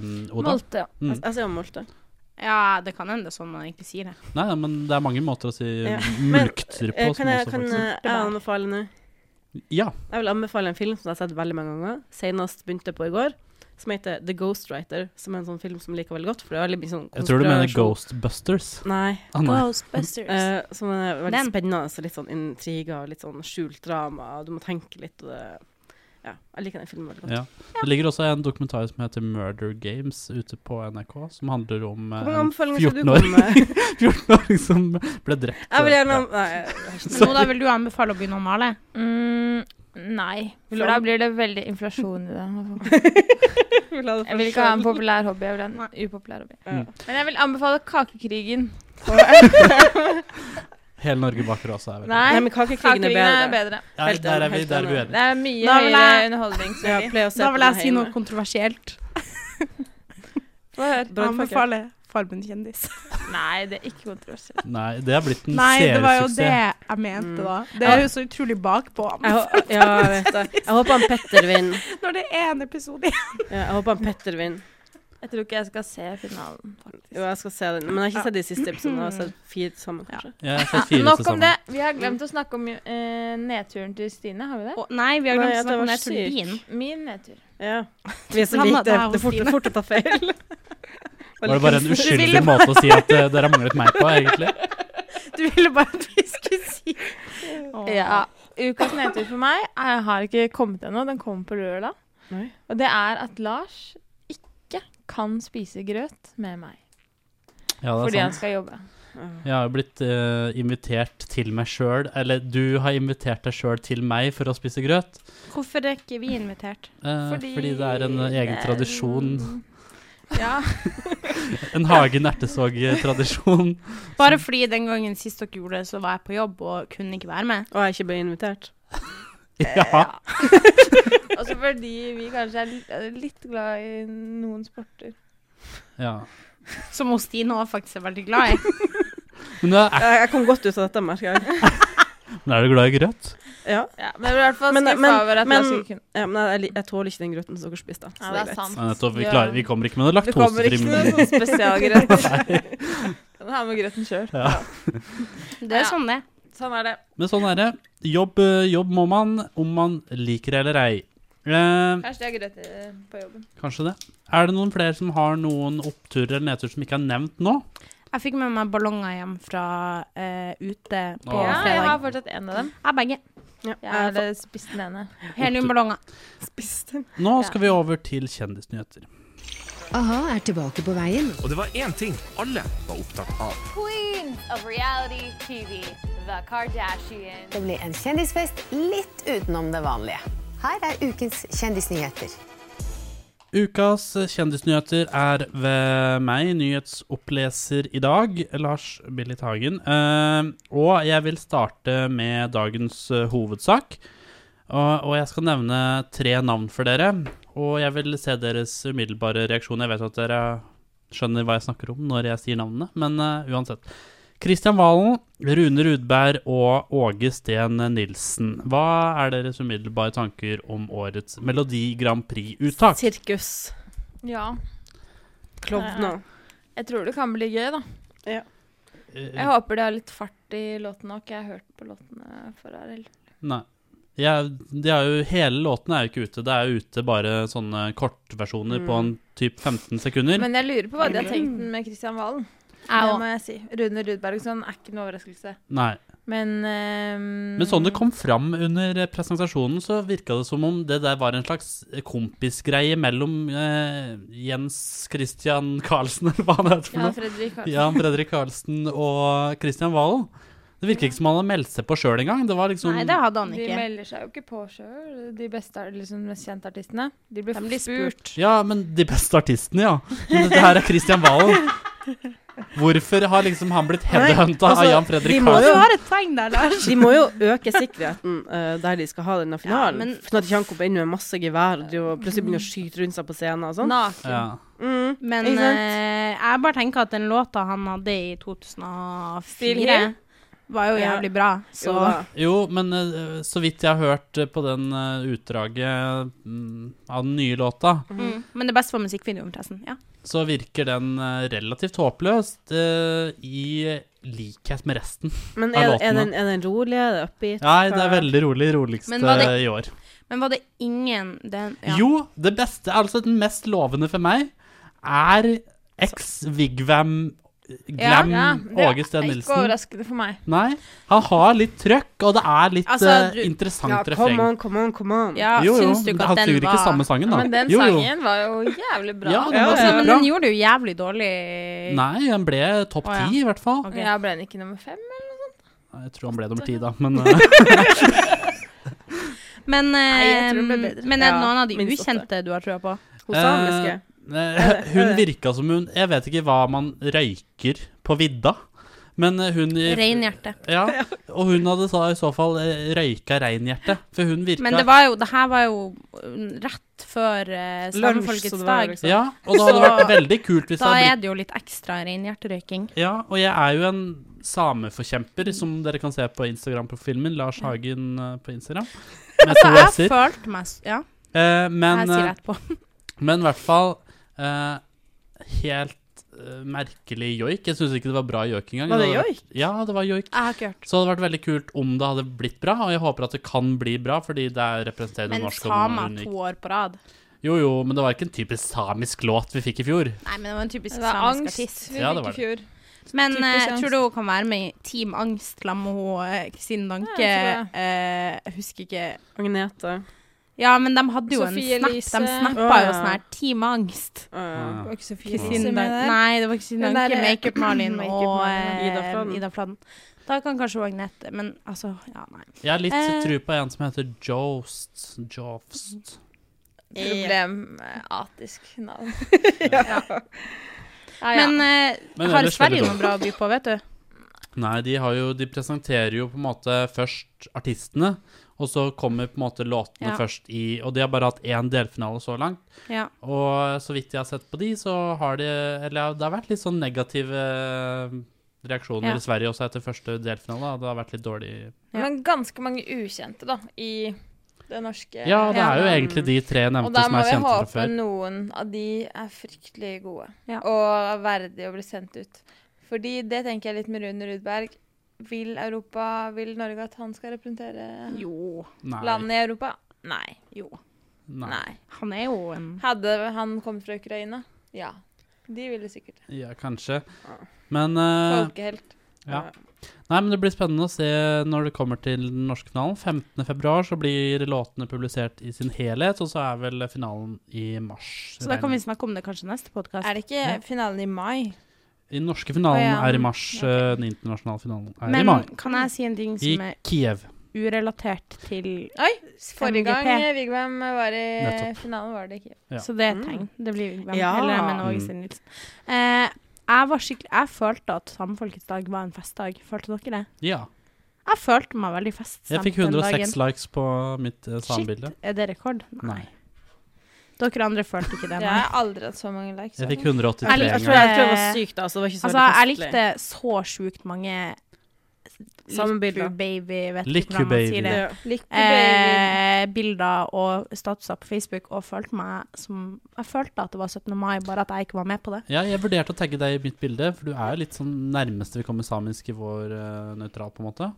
Speaker 4: um, Oda?
Speaker 5: Molte, ja.
Speaker 4: Mm.
Speaker 6: Jeg- Jeg sier molte.
Speaker 7: Ja, det kan hende det er sånn man egentlig sier det.
Speaker 4: Nei, nei, men det er mange måter å si
Speaker 6: Ja. Men,
Speaker 4: mulkter på.
Speaker 6: eh,
Speaker 4: som
Speaker 6: Kan jeg,
Speaker 4: også
Speaker 6: kan
Speaker 4: faktisk-
Speaker 6: eh, jeg anbefale nå?
Speaker 4: Ja.
Speaker 6: Jeg vil anbefale en film som jeg har sett veldig mange ganger. Senest begynte jeg på i går. Som heter The Ghostwriter. Som er en sånn film som jeg liker veldig godt. For det er veldig mye sånn
Speaker 4: Jeg tror du mener
Speaker 6: konspirasjon.
Speaker 4: Ghostbusters.
Speaker 6: Nei.
Speaker 4: Å, nei.
Speaker 7: Ghostbusters.
Speaker 6: Eh, som er veldig
Speaker 7: Den.
Speaker 6: spennende. Så litt sånn intriger og litt sånn skjult drama. og Du må tenke litt. Og det, ja, jeg liker den filmen veldig godt.
Speaker 4: Ja. Det ligger også en dokumentar som heter Murder Games ute på NRK, som handler om eh,
Speaker 6: Hvor mange
Speaker 4: en
Speaker 6: anbefalinger skal du
Speaker 4: 14-åring
Speaker 6: komme med?
Speaker 4: 14-åring som ble drept.
Speaker 6: Jeg vil
Speaker 4: Ja.
Speaker 6: gjerne Nei. jeg har ikke
Speaker 7: Nå da vil du anbefale å begynne å male?
Speaker 2: Mm, nei,
Speaker 6: Vil du
Speaker 2: for da
Speaker 6: an-
Speaker 2: blir det veldig inflasjon i det.
Speaker 6: noe- vil ha det
Speaker 2: Jeg vil ikke ha en populær hobby, jeg vil ha en upopulær hobby.
Speaker 6: Ja.
Speaker 2: Men jeg vil anbefale Kakekrigen.
Speaker 4: Hele Norge baker også er veldig
Speaker 2: Nei,
Speaker 6: Nei, men kakekrigen er
Speaker 2: Kakekrigen er
Speaker 6: bedre.
Speaker 2: bedre.
Speaker 4: Nei,
Speaker 6: helt
Speaker 4: der er vi,
Speaker 6: enig, helt
Speaker 4: der er vi
Speaker 6: enig.
Speaker 4: uenige.
Speaker 2: Det er mye
Speaker 7: Da vil
Speaker 2: høyere
Speaker 7: jeg-
Speaker 6: Jeg
Speaker 2: underholdningsverdi.
Speaker 6: pleier å se
Speaker 7: Da
Speaker 6: på
Speaker 7: vil
Speaker 6: den
Speaker 7: jeg si
Speaker 6: hjemme.
Speaker 7: noe kontroversielt.
Speaker 2: Få høre.
Speaker 6: Brannfakkel.
Speaker 7: Anbefale Farmen kjendis.
Speaker 2: Nei, det er ikke kontroversielt.
Speaker 4: Nei, det er blitt en
Speaker 7: Nei, det var jo det
Speaker 4: seriesuksess.
Speaker 7: jeg mente, da. Det
Speaker 6: Mm. Ja.
Speaker 7: er jo så utrolig bakpå.
Speaker 6: Jeg, hå- ja, jeg vet det. Jeg håper han Petter vinner.
Speaker 7: Når det er en episode igjen.
Speaker 6: Ja, jeg håper han Petter vinner.
Speaker 2: Jeg tror ikke jeg skal se finalen,
Speaker 6: Jo,
Speaker 2: faktisk.
Speaker 6: jeg skal se den. Men jeg har ikke sett de siste episodene. Jeg har sett fire til sammen, kanskje.
Speaker 4: Jeg har
Speaker 2: Ja,
Speaker 4: sett fire
Speaker 2: nok
Speaker 4: til
Speaker 2: om
Speaker 4: sammen.
Speaker 2: det. Vi har glemt å snakke om eh, nedturen til Stine, har vi det?
Speaker 7: Å, Nei, vi har
Speaker 6: Nei,
Speaker 7: glemt å
Speaker 6: at jeg
Speaker 7: snakke om
Speaker 6: var
Speaker 7: det til
Speaker 6: syk.
Speaker 7: din.
Speaker 2: Min nedtur.
Speaker 6: Ja. Vi er så
Speaker 7: Han
Speaker 6: like,
Speaker 7: hadde
Speaker 6: det,
Speaker 7: her
Speaker 6: det er fort,
Speaker 7: hos
Speaker 6: det er fort å ta feil.
Speaker 4: Var det bare en
Speaker 6: Veldig kunstnerisk.
Speaker 4: uskyldig måte å si at eh, dere har manglet meg på, egentlig?
Speaker 7: Du ville bare at vi skulle si
Speaker 2: Ja. Ukas nedtur for meg er, har ikke kommet ennå. Den kommer på lørdag.
Speaker 6: Nei.
Speaker 2: Og det er at Lars ikke kan spise grøt med meg
Speaker 4: Ja, det er
Speaker 2: fordi han
Speaker 4: sant.
Speaker 2: skal jobbe.
Speaker 4: Jeg har jo blitt eh, invitert til meg sjøl, eller du har invitert deg sjøl til meg for å spise grøt.
Speaker 7: Hvorfor er ikke vi invitert?
Speaker 4: eh, fordi, det er en eh,
Speaker 2: det
Speaker 4: egen
Speaker 2: er-
Speaker 4: tradisjon.
Speaker 2: eh, Ja.
Speaker 4: En Hagen-ertesog-tradisjon.
Speaker 7: Bare fordi den gangen sist dere gjorde det, så var jeg på jobb og kunne ikke være med.
Speaker 6: Og jeg ikke ble invitert.
Speaker 4: ja.
Speaker 2: Og så fordi vi kanskje er litt- er litt glad i noen sporter.
Speaker 4: ja.
Speaker 7: Som hos Stine òg faktisk er veldig glad i.
Speaker 4: Men nå er,
Speaker 6: Jeg, jeg kom godt ut av dette, merker jeg.
Speaker 4: men er du glad i grøt?
Speaker 6: Ja.
Speaker 2: Ja, men jeg ble i hvert fall
Speaker 6: Men-
Speaker 2: skuffa
Speaker 6: men-
Speaker 2: over at
Speaker 6: men-
Speaker 2: Lars ikke kunne.
Speaker 6: ja men jeg, jeg tåler ikke den grøten som dere spiste. Så
Speaker 2: Ja,
Speaker 6: det er
Speaker 2: det er
Speaker 6: greit.
Speaker 2: sant.
Speaker 4: Nei, nettopp, vi,
Speaker 2: Ja.
Speaker 4: klarer, vi kommer ikke med noe
Speaker 2: Det kommer
Speaker 4: laktosefri
Speaker 2: ikke noe
Speaker 4: meny.
Speaker 2: sånn spesialgrøt. Den har med grøten sjøl.
Speaker 7: Det er
Speaker 2: Ja.
Speaker 7: sånn det.
Speaker 2: Sånn er det.
Speaker 4: Men sånn er det. Jobb, eh, jobb må man, om man liker det eller ei. Eh,
Speaker 2: Kanskje det er grøt eh, på jobben.
Speaker 4: kanskje det. Er det noen flere som har noen oppturer eller nedturer som ikke er nevnt nå?
Speaker 7: Jeg fikk med meg ballonger hjem fra eh, ute på
Speaker 4: Åh.
Speaker 2: Ja, jeg har
Speaker 7: fredag.
Speaker 2: fortsatt en av dem.
Speaker 7: Jeg har begge.
Speaker 6: Ja.
Speaker 2: Jeg har eh, spist den ene.
Speaker 7: Heliumballonger.
Speaker 6: spiste.
Speaker 4: Nå skal vi over til kjendisnyheter.
Speaker 1: A-ha er tilbake på veien.
Speaker 8: Og det var én ting alle var opptatt av.
Speaker 9: Queens of reality TV, The Kardashians.
Speaker 10: Det blir en kjendisfest litt utenom det vanlige. Her er ukens kjendisnyheter.
Speaker 4: Ukas kjendisnyheter er ved meg, nyhetsoppleser i dag, Lars Billit Hagen. Eh, og jeg vil starte med dagens eh, hovedsak. Og, og jeg skal nevne tre navn for dere. Og jeg vil se deres umiddelbare reaksjon. Jeg vet at dere skjønner hva jeg snakker om når jeg sier navnene, men eh, uansett. Kristian Valen, Rune Rudberg og Åge Steen Nilsen. Hva er deres umiddelbare tanker om årets Melodi Grand Prix-uttak?
Speaker 6: Sirkus.
Speaker 2: Ja.
Speaker 6: Klovner.
Speaker 2: Jeg tror det kan bli gøy, da. Jeg
Speaker 4: Eh,
Speaker 2: håper de har litt fart i låten òg. Jeg har hørt på låtene for RL.
Speaker 4: Nei. Jeg, de er jo, hele låten er jo ikke ute. Det er jo ute bare sånne kortversjoner på en typ 15 sekunder.
Speaker 2: Mm. Men jeg lurer på hva de har tenkt med Kristian Valen. Det
Speaker 5: òg.
Speaker 2: må jeg si. Rune Rudbergsson er ikke noe overraskelse.
Speaker 4: Nei.
Speaker 2: Men ehm,
Speaker 4: Men sånn det kom fram under presentasjonen, så virka det som om det der var en slags kompisgreie mellom eh, Jens Christian Karlsen, eller hva han heter for
Speaker 2: Ja,
Speaker 4: noe.
Speaker 2: Fredrik Karlsen.
Speaker 4: Jan Fredrik Karlsen og Christian Valen. Det virker ikke som han hadde meldt seg på sjøl engang. Det var liksom
Speaker 7: Nei, det hadde han
Speaker 2: De
Speaker 7: ikke.
Speaker 2: melder seg jo ikke på sjøl, de beste, liksom, mest kjente artistene. De blir,
Speaker 7: De blir
Speaker 2: spurt.
Speaker 4: Ja, men de beste artistene, ja. Men dette her er Christian Valen. Hvorfor har liksom han blitt headhunta av
Speaker 6: altså,
Speaker 4: Jan
Speaker 6: de
Speaker 4: Fredrik
Speaker 6: må
Speaker 7: Du
Speaker 4: Karlsen?
Speaker 6: jo-
Speaker 7: har et poeng der, Lars.
Speaker 6: De må jo øke sikkerheten eh, der de skal ha denne finalen.
Speaker 7: men-
Speaker 6: Sånn at ikke han kommer inn med masse gevær og driver og plutselig begynner å skyte rundt seg på scenen og sånn.
Speaker 2: Naken.
Speaker 4: Ja.
Speaker 6: Mm.
Speaker 7: Men
Speaker 6: Ikke sant?
Speaker 7: eh, jeg bare tenker at den låta han hadde i 2004,
Speaker 2: Still
Speaker 7: var jo
Speaker 6: Ja.
Speaker 7: jævlig bra. Så
Speaker 6: Jo da.
Speaker 4: Jo, men eh, så vidt jeg har hørt eh, på den eh, utdraget mm, av den nye låta,
Speaker 7: mm. Men det beste var musikkvideoen, forresten. Ja.
Speaker 4: så virker den eh, relativt håpløst eh, i likhet med resten.
Speaker 6: Men
Speaker 4: Av
Speaker 6: er, er,
Speaker 4: låtene.
Speaker 6: den, er den rolig? Er det upbeat?
Speaker 4: Nei, det er veldig rolig. Roligste
Speaker 7: Men var det-
Speaker 4: eh, i år.
Speaker 7: Men var det ingen den, ja.
Speaker 4: Jo, det beste, altså den mest lovende for meg, er ex Vigvam Glam
Speaker 2: Ja,
Speaker 4: Åge
Speaker 2: det
Speaker 4: Steen
Speaker 2: er ikke
Speaker 4: Nilsen.
Speaker 2: overraskende for meg.
Speaker 4: Nei, han har litt trøkk, og det er litt
Speaker 7: Altså,
Speaker 4: eh,
Speaker 7: du-
Speaker 4: interessant
Speaker 6: Ja,
Speaker 4: refreng.
Speaker 6: come on, come on, come on.
Speaker 7: Ja,
Speaker 4: jo, jo,
Speaker 7: syns du ikke
Speaker 4: han
Speaker 7: at den
Speaker 4: synger
Speaker 7: var
Speaker 4: ikke samme sangen, da.
Speaker 2: Men den
Speaker 4: jo, jo.
Speaker 2: sangen var jo jævlig bra.
Speaker 4: Ja, den var
Speaker 6: Ja, ja,
Speaker 7: Altså, men
Speaker 4: bra.
Speaker 7: den gjorde det jo jævlig dårlig.
Speaker 4: Nei, han ble topp
Speaker 7: Å,
Speaker 4: ti,
Speaker 7: ja.
Speaker 4: i hvert fall.
Speaker 7: Ok.
Speaker 2: Ja, ble den ikke nummer fem?
Speaker 4: Jeg tror han ble nummer ti, da. Men eh,
Speaker 7: Men,
Speaker 2: jeg tror den ble
Speaker 7: eh,
Speaker 2: bedre.
Speaker 7: men er det
Speaker 6: Ja,
Speaker 7: noen av de
Speaker 6: minst åtte.
Speaker 7: ukjente du har trua på?
Speaker 6: Hun samiske.
Speaker 4: eh, hun virka som hun Jeg vet ikke hva man røyker på vidda, men eh, hun i
Speaker 7: Reinhjerte.
Speaker 4: Ja, og hun hadde sa, i så fall eh, røyka reinhjerte, for hun virka
Speaker 7: Men det var jo Det her var jo mm, rett før eh,
Speaker 6: Lunsj, så
Speaker 7: Samefolkets
Speaker 6: det var
Speaker 7: dag.
Speaker 6: liksom-
Speaker 4: Ja, og det hadde vært veldig kult hvis det
Speaker 7: Da
Speaker 4: hadde
Speaker 7: er
Speaker 4: blitt
Speaker 7: det jo litt ekstra reinhjerterøyking.
Speaker 4: Ja, og jeg er jo en sameforkjemper, som dere kan se på Instagram-profilen min, Lars Hagen eh, på Instagram. Med
Speaker 7: Mm. Altså,
Speaker 4: to
Speaker 7: jeg
Speaker 4: s-er.
Speaker 7: følte meg s- Ja,
Speaker 4: Eh,
Speaker 7: jeg
Speaker 4: men
Speaker 7: sier
Speaker 4: eh,
Speaker 7: det etterpå.
Speaker 4: Men i hvert fall eh, Helt eh, merkelig joik. Jeg syns ikke det var bra joik engang.
Speaker 6: Var det
Speaker 4: hadde vært- Ja, det var joik.
Speaker 7: Jeg har ikke hørt.
Speaker 4: Så det hadde vært veldig kult om det hadde blitt bra, og jeg håper at det kan bli bra, fordi det er representerende
Speaker 7: Men
Speaker 4: norsk. og noe
Speaker 7: samer
Speaker 4: unikt.
Speaker 7: to år på rad.
Speaker 4: Jo, jo, men det var ikke en typisk samisk låt vi fikk i fjor.
Speaker 7: Nei, men det var en typisk
Speaker 2: Det var
Speaker 7: samisk
Speaker 2: angst
Speaker 7: artist.
Speaker 2: vi
Speaker 4: Ja, det
Speaker 2: fikk
Speaker 4: var
Speaker 2: i fjor.
Speaker 7: Men
Speaker 2: Typisk
Speaker 7: eh,
Speaker 2: angst.
Speaker 7: tror du hun kan være med i Team Angst sammen med hun, eh, Kristine Danke?
Speaker 2: Ja, jeg tror
Speaker 7: eh, jeg husker ikke
Speaker 6: Agnete.
Speaker 7: Ja, men de hadde jo
Speaker 2: Sofie
Speaker 7: en snap.
Speaker 2: Elise.
Speaker 7: De snappa
Speaker 6: Å, ja.
Speaker 7: jo sånn her Team Angst.
Speaker 6: Uh,
Speaker 2: Det var ikke så fint.
Speaker 7: Kristine Danke.
Speaker 2: Med der.
Speaker 7: Nei, det var Kristine
Speaker 2: Den
Speaker 7: Danke,
Speaker 2: der, eh,
Speaker 7: Makeup Malin
Speaker 2: Makeup
Speaker 7: og
Speaker 2: Malin,
Speaker 7: eh,
Speaker 6: Ida Fladen.
Speaker 7: Ida Fladen. Da kan kanskje hun Agnete Men altså, ja, nei.
Speaker 4: Jeg har litt
Speaker 7: Eh.
Speaker 4: tru på en som heter Jost. Jost.
Speaker 2: Problematisk eh, navn. ja. ja.
Speaker 7: Men, eh,
Speaker 4: Men
Speaker 7: har
Speaker 4: ellers
Speaker 7: Sverige
Speaker 4: veldig bra.
Speaker 7: noe bra å by på, vet du?
Speaker 4: Nei, de, har jo, de presenterer jo på en måte først artistene, og så kommer på en måte låtene
Speaker 7: Ja.
Speaker 4: først i Og de har bare hatt én delfinale så langt.
Speaker 7: Ja.
Speaker 4: Og eh, så vidt jeg har sett på de, så har de Eller det har vært litt sånn negative eh, reaksjoner
Speaker 7: Ja.
Speaker 4: i Sverige også etter første delfinale. da. Det har vært litt dårlig
Speaker 7: Ja.
Speaker 2: Men ganske mange ukjente, da, i det norske.
Speaker 4: Ja, det
Speaker 7: Ja,
Speaker 4: er jo
Speaker 7: men-
Speaker 4: egentlig de tre
Speaker 2: og
Speaker 4: nevnte
Speaker 2: da
Speaker 4: som
Speaker 2: må
Speaker 4: er
Speaker 2: vi
Speaker 4: kjente fra
Speaker 2: håpe
Speaker 4: før.
Speaker 2: noen av de er fryktelig gode
Speaker 7: Ja.
Speaker 2: og verdig å bli sendt ut. Fordi det tenker jeg litt med Rune Rudberg. Vil Europa, vil Norge at han skal representere
Speaker 7: Jo.
Speaker 4: Nei.
Speaker 2: landet i Europa? Nei.
Speaker 7: Jo.
Speaker 4: Nei.
Speaker 2: Nei.
Speaker 7: Han er jo en
Speaker 2: Hadde han kommet fra Ukraina? Ja. De ville sikkert det.
Speaker 4: Ja, kanskje. Men eh,
Speaker 2: Folkehelt.
Speaker 4: ja. Nei, men det blir spennende å se når det kommer til den norske finalen. 15. februar så blir låtene publisert i sin helhet, og så er vel finalen i mars.
Speaker 7: Så da kan vi
Speaker 4: regner jeg.
Speaker 7: snakke om det kanskje i neste podkast.
Speaker 2: Er det ikke
Speaker 4: Ja.
Speaker 2: finalen i mai?
Speaker 4: Den norske finalen
Speaker 2: Å, ja.
Speaker 4: er i mars. eh, Den internasjonale finalen er i
Speaker 7: Men
Speaker 4: mai.
Speaker 7: kan jeg si en ting
Speaker 4: I
Speaker 7: som er
Speaker 4: Kiev.
Speaker 7: urelatert til
Speaker 2: Oi! Forrige gang
Speaker 7: MGP.
Speaker 2: eh, Vigvam var i
Speaker 4: Nettopp.
Speaker 2: finalen, var det ikke
Speaker 4: Ja.
Speaker 7: Så det er et tegn. Det blir hvem
Speaker 6: Ja.
Speaker 7: eller men Åge
Speaker 4: Mm.
Speaker 7: Stein Nilsen. Eh, jeg var skikkelig Jeg følte at Samefolkets dag var en festdag. Følte dere det?
Speaker 4: Ja.
Speaker 7: Jeg følte meg veldig feststemt
Speaker 4: Jeg fikk
Speaker 7: den
Speaker 4: 106
Speaker 7: dagen.
Speaker 4: likes på mitt eh, samebilde.
Speaker 7: Shit, er det rekord?
Speaker 4: Nei.
Speaker 7: Dere andre følte ikke det?
Speaker 2: Jeg
Speaker 7: Nei.
Speaker 2: har aldri hatt så mange likes. altså.
Speaker 4: Jeg fikk
Speaker 7: Jeg
Speaker 4: 183
Speaker 7: liker-
Speaker 6: jeg
Speaker 4: en
Speaker 6: tror
Speaker 4: gang.
Speaker 6: jeg tror jeg var syk da, så det var ikke så
Speaker 7: Altså, jeg
Speaker 6: veldig festlig.
Speaker 7: likte så sjukt mange
Speaker 6: Samme bilder.
Speaker 7: Likku baby, vet
Speaker 4: Likku
Speaker 7: ikke hvordan man
Speaker 4: baby.
Speaker 7: sier det.
Speaker 6: Ja.
Speaker 2: Lykke baby.
Speaker 7: Eh, bilder og statuser på Facebook, og følte meg som Jeg følte at det var 17. mai, bare at jeg ikke var med på det.
Speaker 4: Ja, jeg vurderte å tagge deg i mitt bilde, for du er jo litt sånn nærmeste vi kommer samisk i vår eh, nøytral, på en måte.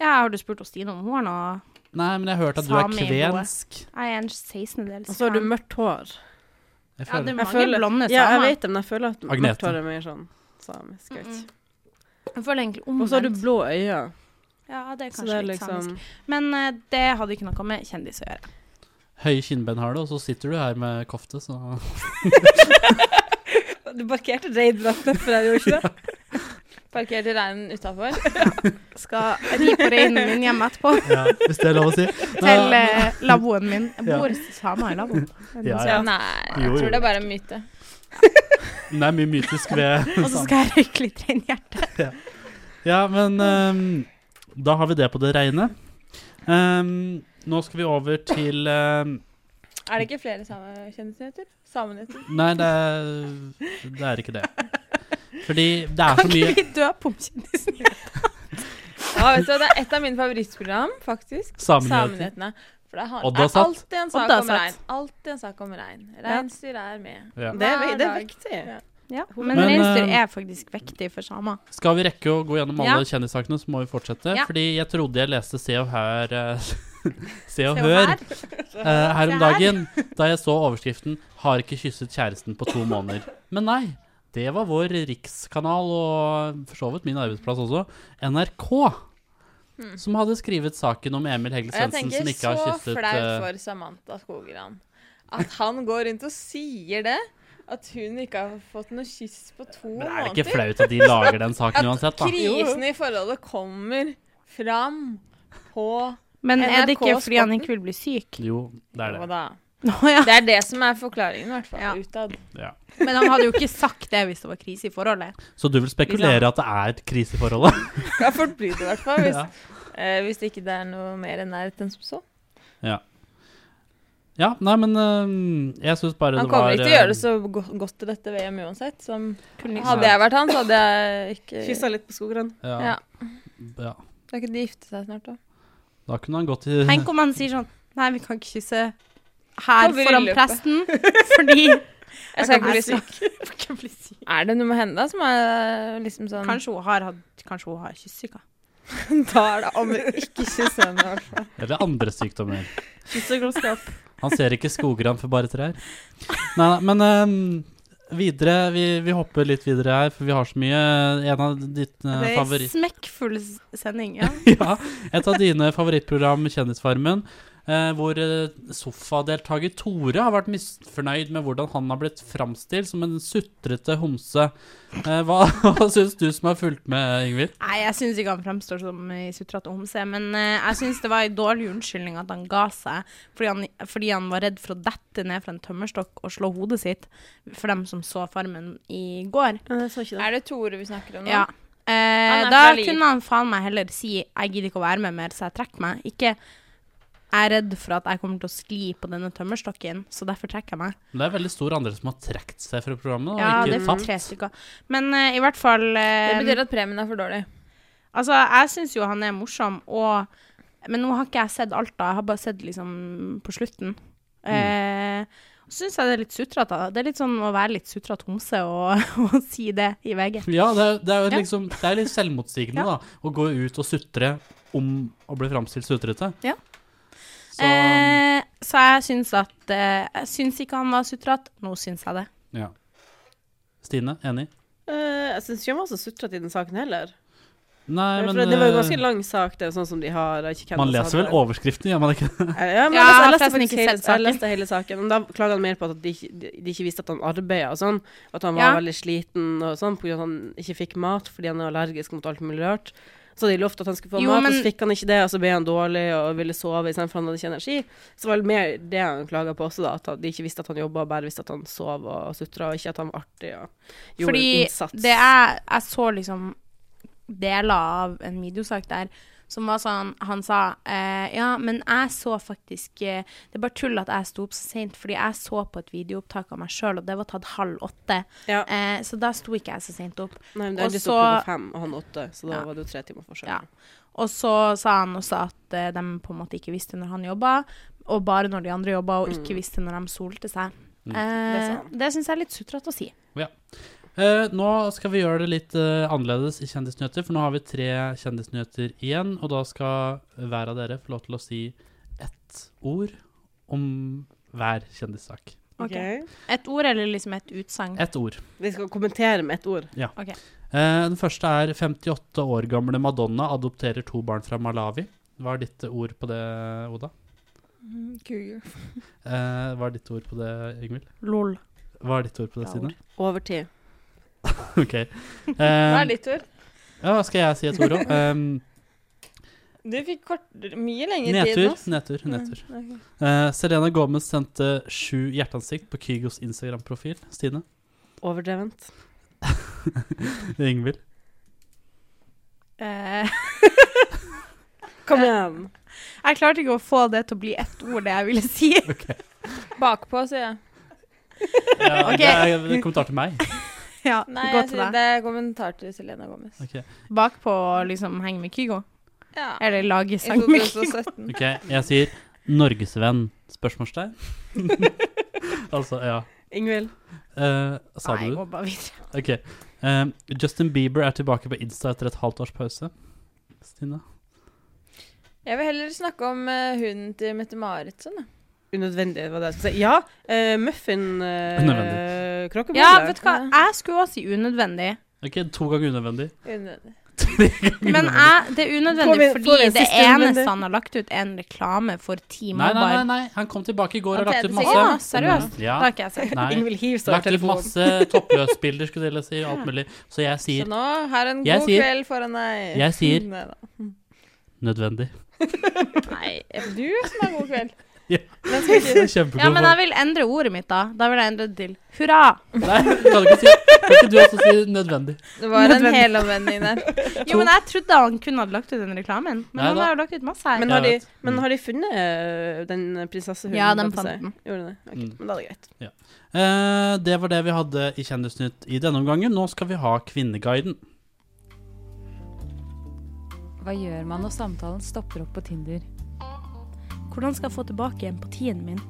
Speaker 7: Ja, har du spurt hos Stine om hun har noe
Speaker 4: Nei, men jeg hørte at du er
Speaker 7: Same i blodet.
Speaker 4: kvensk.
Speaker 7: Jeg er en 16. del
Speaker 6: Og så har du mørkt hår.
Speaker 4: Jeg
Speaker 7: Ja, det er
Speaker 4: føler
Speaker 7: mange blonde
Speaker 6: Ja, jeg
Speaker 7: samer.
Speaker 6: vet det, men jeg føler at
Speaker 4: Agnete.
Speaker 6: mørkt hår er mer sånn samisk. jeg vet ikke.
Speaker 7: Jeg føler egentlig
Speaker 6: Og så har du
Speaker 7: Mm. omvendt.
Speaker 6: blå øyne.
Speaker 7: Ja, det er
Speaker 6: Så
Speaker 7: kanskje
Speaker 6: det er
Speaker 7: litt
Speaker 6: liksom-
Speaker 7: samisk. Men eh, det hadde ikke noe med kjendis å gjøre.
Speaker 4: Høye kinnben har du, og så sitter du her med kofte, så
Speaker 2: Du parkerte reindrakten for deg, gjorde du ikke det? Parkerte reinen utafor?
Speaker 7: Skal ri på reinen min hjemme etterpå.
Speaker 4: ja, Hvis det er lov å si.
Speaker 7: Til eh, laboen min. Jeg
Speaker 4: Ja.
Speaker 7: bor samer i laboen.
Speaker 4: Ja, ja.
Speaker 2: Nei, jeg
Speaker 4: Jo, jo.
Speaker 2: tror det er bare en myte.
Speaker 4: Det er mye mytisk ved sånn.
Speaker 7: Og så skal jeg røyke litt reinhjerte.
Speaker 4: Ja, men ehm, da har vi det på det reine. Ehm, nå skal vi over til ehm,
Speaker 2: Er det ikke flere samekjendisnyheter? Samenyheter?
Speaker 4: Nei, det er, det er ikke det. Fordi det er så
Speaker 7: Kan
Speaker 4: mye
Speaker 7: ikke vi døpe om kjendisen?
Speaker 2: Ja, vet du, hva, det er et av mine favorittprogram, faktisk.
Speaker 4: Samenyheter.
Speaker 2: Samenyhetene. For det har-
Speaker 4: Odda
Speaker 2: er
Speaker 4: satt.
Speaker 2: alltid en sak
Speaker 6: Odda
Speaker 2: om
Speaker 6: satt.
Speaker 2: rein. Alltid en sak om rein. Reinsdyr er med.
Speaker 4: ja.
Speaker 6: Det er,
Speaker 2: Hver
Speaker 6: det er
Speaker 2: dag.
Speaker 6: viktig.
Speaker 2: Ja.
Speaker 7: Ja, men
Speaker 4: Men,
Speaker 7: reinsdyr
Speaker 4: eh,
Speaker 7: er faktisk viktig for samer.
Speaker 4: Skal vi rekke å gå gjennom
Speaker 7: Ja.
Speaker 4: alle kjendissakene, så må vi fortsette.
Speaker 7: Ja.
Speaker 4: Fordi jeg trodde jeg leste Se og Hør eh, Se og
Speaker 7: Se og
Speaker 4: Hør
Speaker 7: Hør.
Speaker 4: eh, her om dagen, da jeg så overskriften 'Har ikke kysset kjæresten på to måneder'. Men nei. Det var vår rikskanal, og for så vidt min arbeidsplass også, NRK, som hadde skrevet saken om Emil Hegel
Speaker 2: Hmm. Og jeg
Speaker 4: Svendsen som
Speaker 2: tenker
Speaker 4: ikke
Speaker 2: så
Speaker 4: har kysset
Speaker 2: flaut
Speaker 4: eh,
Speaker 2: for Samantha Skogran at han går rundt og sier det. At hun ikke har fått noe kyss på to
Speaker 4: Men er det ikke
Speaker 2: måneder.
Speaker 4: flaut at de lager den saken uansett, da?
Speaker 2: Krisen i forholdet kommer fram på
Speaker 7: Men er det
Speaker 2: NRK
Speaker 7: ikke fordi han
Speaker 2: Sporten?
Speaker 7: ikke vil bli syk?
Speaker 4: Jo, det er det.
Speaker 2: Hva da?
Speaker 7: Nå, ja.
Speaker 2: Det er det som er forklaringen, i hvert fall.
Speaker 7: Ja.
Speaker 2: Utad.
Speaker 4: Ja.
Speaker 7: Men han hadde jo ikke sagt det hvis det var krise i forholdet.
Speaker 4: Så du vil spekulere at det er et kriseforhold?
Speaker 2: Ja, folk blir det i hvert fall. Hvis,
Speaker 4: Ja.
Speaker 2: eh, hvis det ikke det er noe mer nærhet enn som så.
Speaker 4: ja, nei, men øhm, jeg syns bare
Speaker 2: Han
Speaker 4: det var eh,
Speaker 2: kommer ikke til å gjøre
Speaker 4: øhm,
Speaker 2: det så go godt til dette VM uansett. Som
Speaker 7: Kunne ikke
Speaker 2: hadde jeg vært han, så hadde jeg ikke
Speaker 6: Kyssa litt på skogran.
Speaker 4: eh, ja, ja.
Speaker 2: Ja. Da kunne de gifte seg snart, da.
Speaker 4: Da kunne han gått i
Speaker 7: Tenk om han sier sånn Nei, vi kan ikke kysse her
Speaker 2: På
Speaker 7: foran
Speaker 2: bryllupet.
Speaker 7: presten, fordi
Speaker 2: Jeg skal ikke bli
Speaker 7: Jeg
Speaker 2: syk.
Speaker 7: kan bli syk.
Speaker 2: Er det noe med henne da som er liksom sånn
Speaker 7: Kanskje hun har hatt Kanskje hun har kyssesyke.
Speaker 2: Da er det om å ikke kysse henne, i hvert fall.
Speaker 4: Eller andre sykdommer.
Speaker 6: Kyssegalskap.
Speaker 4: Han ser ikke skoggran for bare trær. Nei, nei, men øhm, videre vi, vi hopper litt videre her, for vi har så mye. En av ditt øh,
Speaker 7: Det er
Speaker 4: favoritt...
Speaker 7: en smekkfull s- sending. Ja.
Speaker 4: ja, et av dine favorittprogram, Kjendisfarmen, eh, hvor eh, sofadeltaker Tore har vært misfornøyd med hvordan han har blitt framstilt som en sutrete homse. Eh, hva hva syns du som har fulgt med, Ingvild?
Speaker 7: Nei, jeg syns ikke han fremstår som ei sutrete homse, men eh, jeg syns det var ei dårlig unnskyldning at han ga seg, fordi han, fordi han var redd for å dette ned fra en tømmerstokk og slå hodet sitt, for dem som så Farmen i går.
Speaker 6: Jeg så ikke det.
Speaker 2: Er det Tore vi snakker om nå?
Speaker 7: Ja. Eh,
Speaker 2: er
Speaker 7: da
Speaker 2: fra Lier.
Speaker 7: kunne han faen meg heller si 'jeg gidder ikke å være med mer, så jeg trekker meg'. Ikke 'jeg er redd for at jeg kommer til å skli på denne tømmerstokken, så derfor trekker jeg meg'.
Speaker 4: Det er veldig stor andre som har trukket seg fra programmet. Og
Speaker 7: Ja, det
Speaker 4: ikke
Speaker 7: er
Speaker 4: tapt.
Speaker 7: tre stykker. Men eh, i hvert fall
Speaker 2: Det
Speaker 7: eh,
Speaker 2: betyr at premien er for dårlig.
Speaker 7: Altså, jeg syns jo han er morsom, og Men nå har ikke jeg sett alt, da. Jeg har bare sett liksom på slutten. Eh, så syns jeg det er litt sutrete. da. Det er litt sånn å være litt sutrete homse og, og si det i VG.
Speaker 4: Ja, det er, det er,
Speaker 7: Ja.
Speaker 4: liksom, det er litt selvmotsigende, da. Å gå ut og sutre om å bli framstilt sutrete.
Speaker 7: Ja.
Speaker 4: Så
Speaker 7: eh, så jeg syns at eh, Jeg syns ikke han var sutrete. Nå syns jeg det.
Speaker 4: ja. Stine, enig?
Speaker 6: Eh, jeg syns ikke han var så sutrete i den saken heller.
Speaker 4: Nei, men
Speaker 6: For det var jo ganske
Speaker 4: eh,
Speaker 6: lang sak, det er jo sånn som de har. jeg ikke hvem
Speaker 4: man
Speaker 6: som hadde
Speaker 4: leser vel
Speaker 6: det.
Speaker 4: overskriften, gjør man ikke det?
Speaker 6: Eh, Ja, men
Speaker 7: Ja,
Speaker 6: jeg leste- jeg
Speaker 7: forresten
Speaker 6: leste faktisk
Speaker 7: ikke
Speaker 6: hele,
Speaker 7: sett saken.
Speaker 6: jeg leste hele saken. Men da klaga han mer på at de, ikke- de, de ikke visste at han arbeida og sånn. At han var
Speaker 7: Ja.
Speaker 6: veldig sliten og sånn pga. at han ikke fikk mat fordi han er allergisk mot alt mulig rørt. Så hadde de lovt at han skulle få
Speaker 7: Jo,
Speaker 6: mat, og
Speaker 7: men-
Speaker 6: så fikk han ikke det, og så ble han dårlig og ville sove istedenfor for han hadde ikke energi. Så var det mer det han klaga på også, da. At han- de ikke visste at han jobba, og bare visste at han sov og sutra, og ikke at han var artig og gjorde
Speaker 7: Fordi
Speaker 6: en innsats.
Speaker 7: det er Jeg så liksom deler av en videosak der som var sånn Han sa eh, Ja, men jeg så faktisk eh, Det er bare tull at jeg sto opp så seint, fordi jeg så på et videoopptak av meg sjøl, og det var tatt halv åtte.
Speaker 6: Ja.
Speaker 7: Eh, så da sto ikke jeg så seint opp.
Speaker 6: Nei, men det er
Speaker 7: og
Speaker 6: litt
Speaker 7: så-
Speaker 6: opp klokka fem, og han åtte, så da
Speaker 7: Ja.
Speaker 6: var det jo tre timer forskjell.
Speaker 7: Ja. Og så sa han også at eh, de på en måte ikke visste når han jobba, og bare når de andre jobba, og ikke visste når de solte seg.
Speaker 4: Mm.
Speaker 7: Eh,
Speaker 6: Mm. Det sa han.
Speaker 7: det syns jeg er litt sutrete å si.
Speaker 4: Eh, nå skal vi gjøre det litt eh, annerledes i Kjendisnyheter, for nå har vi tre kjendisnyheter igjen. Og da skal hver av dere få lov til å si ett ord om hver kjendissak.
Speaker 7: Ok. Et ord eller liksom et utsagn?
Speaker 4: Ett ord.
Speaker 6: Vi skal kommentere med ett ord.
Speaker 4: Ja.
Speaker 7: Ok.
Speaker 4: Eh, den første er 58 år gamle Madonna adopterer to barn fra Malawi. Hva er ditt ord på det, Oda?
Speaker 2: Cougar.
Speaker 4: Eh, hva er ditt ord på det, Yngvild?
Speaker 7: Lol.
Speaker 4: Hva er ditt ord på det,
Speaker 6: Bra
Speaker 4: Stine?
Speaker 6: Overtid.
Speaker 4: OK.
Speaker 2: Hva
Speaker 4: Eh,
Speaker 2: er ditt ord?
Speaker 4: ja, skal jeg si et ord òg?
Speaker 2: Du fikk kort, mye lengre tid Mm. enn
Speaker 4: nedtur.
Speaker 2: oss.
Speaker 4: Nedtur. nedtur.
Speaker 2: Ok.
Speaker 4: Eh, Selena Gomez sendte sju hjerteansikt på Kygos Instagram-profil. Stine?
Speaker 6: Overdrevent.
Speaker 4: Yngvild?
Speaker 7: Eh,
Speaker 6: Kom igjen.
Speaker 7: jeg klarte ikke å få det til å bli ett ord, det jeg ville si.
Speaker 2: Bakpå, sier jeg.
Speaker 4: Ja,
Speaker 7: Ok.
Speaker 4: Det er en kommentar til meg.
Speaker 7: Ja,
Speaker 2: Nei,
Speaker 7: gå
Speaker 2: jeg
Speaker 7: til
Speaker 2: sier,
Speaker 7: deg.
Speaker 2: det er kommentar til Selena Gomez.
Speaker 4: Ok,
Speaker 7: Bakpå og liksom henge med Kygo.
Speaker 2: Ja.
Speaker 7: Eller lage
Speaker 2: I
Speaker 7: sang med Kygo.
Speaker 2: 2017.
Speaker 4: ok, jeg sier Norgesvenn? Spørsmålstegn. altså, ja.
Speaker 6: Ingvild.
Speaker 4: Eh, sa
Speaker 7: Nei,
Speaker 4: du det?
Speaker 7: gå bare videre.
Speaker 4: Ok. Eh, Justin Bieber er tilbake på Insta etter et halvt års pause. Stine?
Speaker 2: Jeg vil heller snakke om eh, hunden til Mette-Marit. Sånn, da.
Speaker 6: Unødvendig, var det jeg skulle si. Ja, eh, muffin eh,
Speaker 4: Unødvendig.
Speaker 6: krokkebolle.
Speaker 7: Ja, vet du hva, jeg skulle også si unødvendig.
Speaker 4: Ok, to ganger unødvendig.
Speaker 2: Unødvendig.
Speaker 7: Men jeg, det er
Speaker 6: Får vi-
Speaker 7: unødvendig,
Speaker 6: får vi
Speaker 7: fordi
Speaker 6: en
Speaker 7: det
Speaker 6: siste
Speaker 7: eneste
Speaker 6: unødvendig?
Speaker 7: han har lagt ut, er en reklame for Team
Speaker 4: Nei, nei, nei,
Speaker 7: Mobile.
Speaker 4: nei. Han kom tilbake i går og
Speaker 2: Han
Speaker 4: har lagt ut
Speaker 2: tredje
Speaker 4: masse.
Speaker 2: sier,
Speaker 7: Å, seriøst?
Speaker 4: Ja.
Speaker 7: Det har ikke jeg sett.
Speaker 4: Nei.
Speaker 6: Ingvild hiver seg over
Speaker 4: Lagt ut
Speaker 6: telefonen.
Speaker 4: masse toppløsbilder, skulle jeg si, og alt mulig. Så jeg
Speaker 2: Så
Speaker 4: sier
Speaker 2: nå har en
Speaker 4: Jeg
Speaker 2: god
Speaker 4: sier-
Speaker 2: kveld foran deg.
Speaker 4: Jeg sier-
Speaker 2: Nei da.
Speaker 4: nødvendig.
Speaker 2: Nei, er det du som har god kveld?
Speaker 4: Ja.
Speaker 2: Den skal ikke-
Speaker 4: Kjempegod
Speaker 7: Ja, men
Speaker 4: form.
Speaker 7: jeg vil endre ordet mitt, da. Da vil jeg endre det til hurra.
Speaker 4: Nei, kan du ikke si Kan ikke du også si nødvendig?
Speaker 2: Det var en helomvending der.
Speaker 7: Jo, men jeg trodde han kun hadde lagt ut den reklamen. Men
Speaker 4: Nei
Speaker 7: han
Speaker 4: da.
Speaker 7: har jo lagt ut masse her.
Speaker 6: Men
Speaker 4: Jeg
Speaker 6: har, de,
Speaker 4: vet.
Speaker 6: men har de funnet eh, den prinsessehunden?
Speaker 7: Ja, den
Speaker 6: holdt jeg på å si?
Speaker 7: fant den.
Speaker 6: Gjorde de det? Ok,
Speaker 4: Mm.
Speaker 6: Men da er det greit.
Speaker 4: Eh, det var det vi hadde i Kjendisnytt i denne omgangen. Nå skal vi ha Kvinneguiden.
Speaker 3: Hva gjør man når samtalen stopper opp på Tinder?
Speaker 7: Hvordan skal jeg få tilbake empatien min?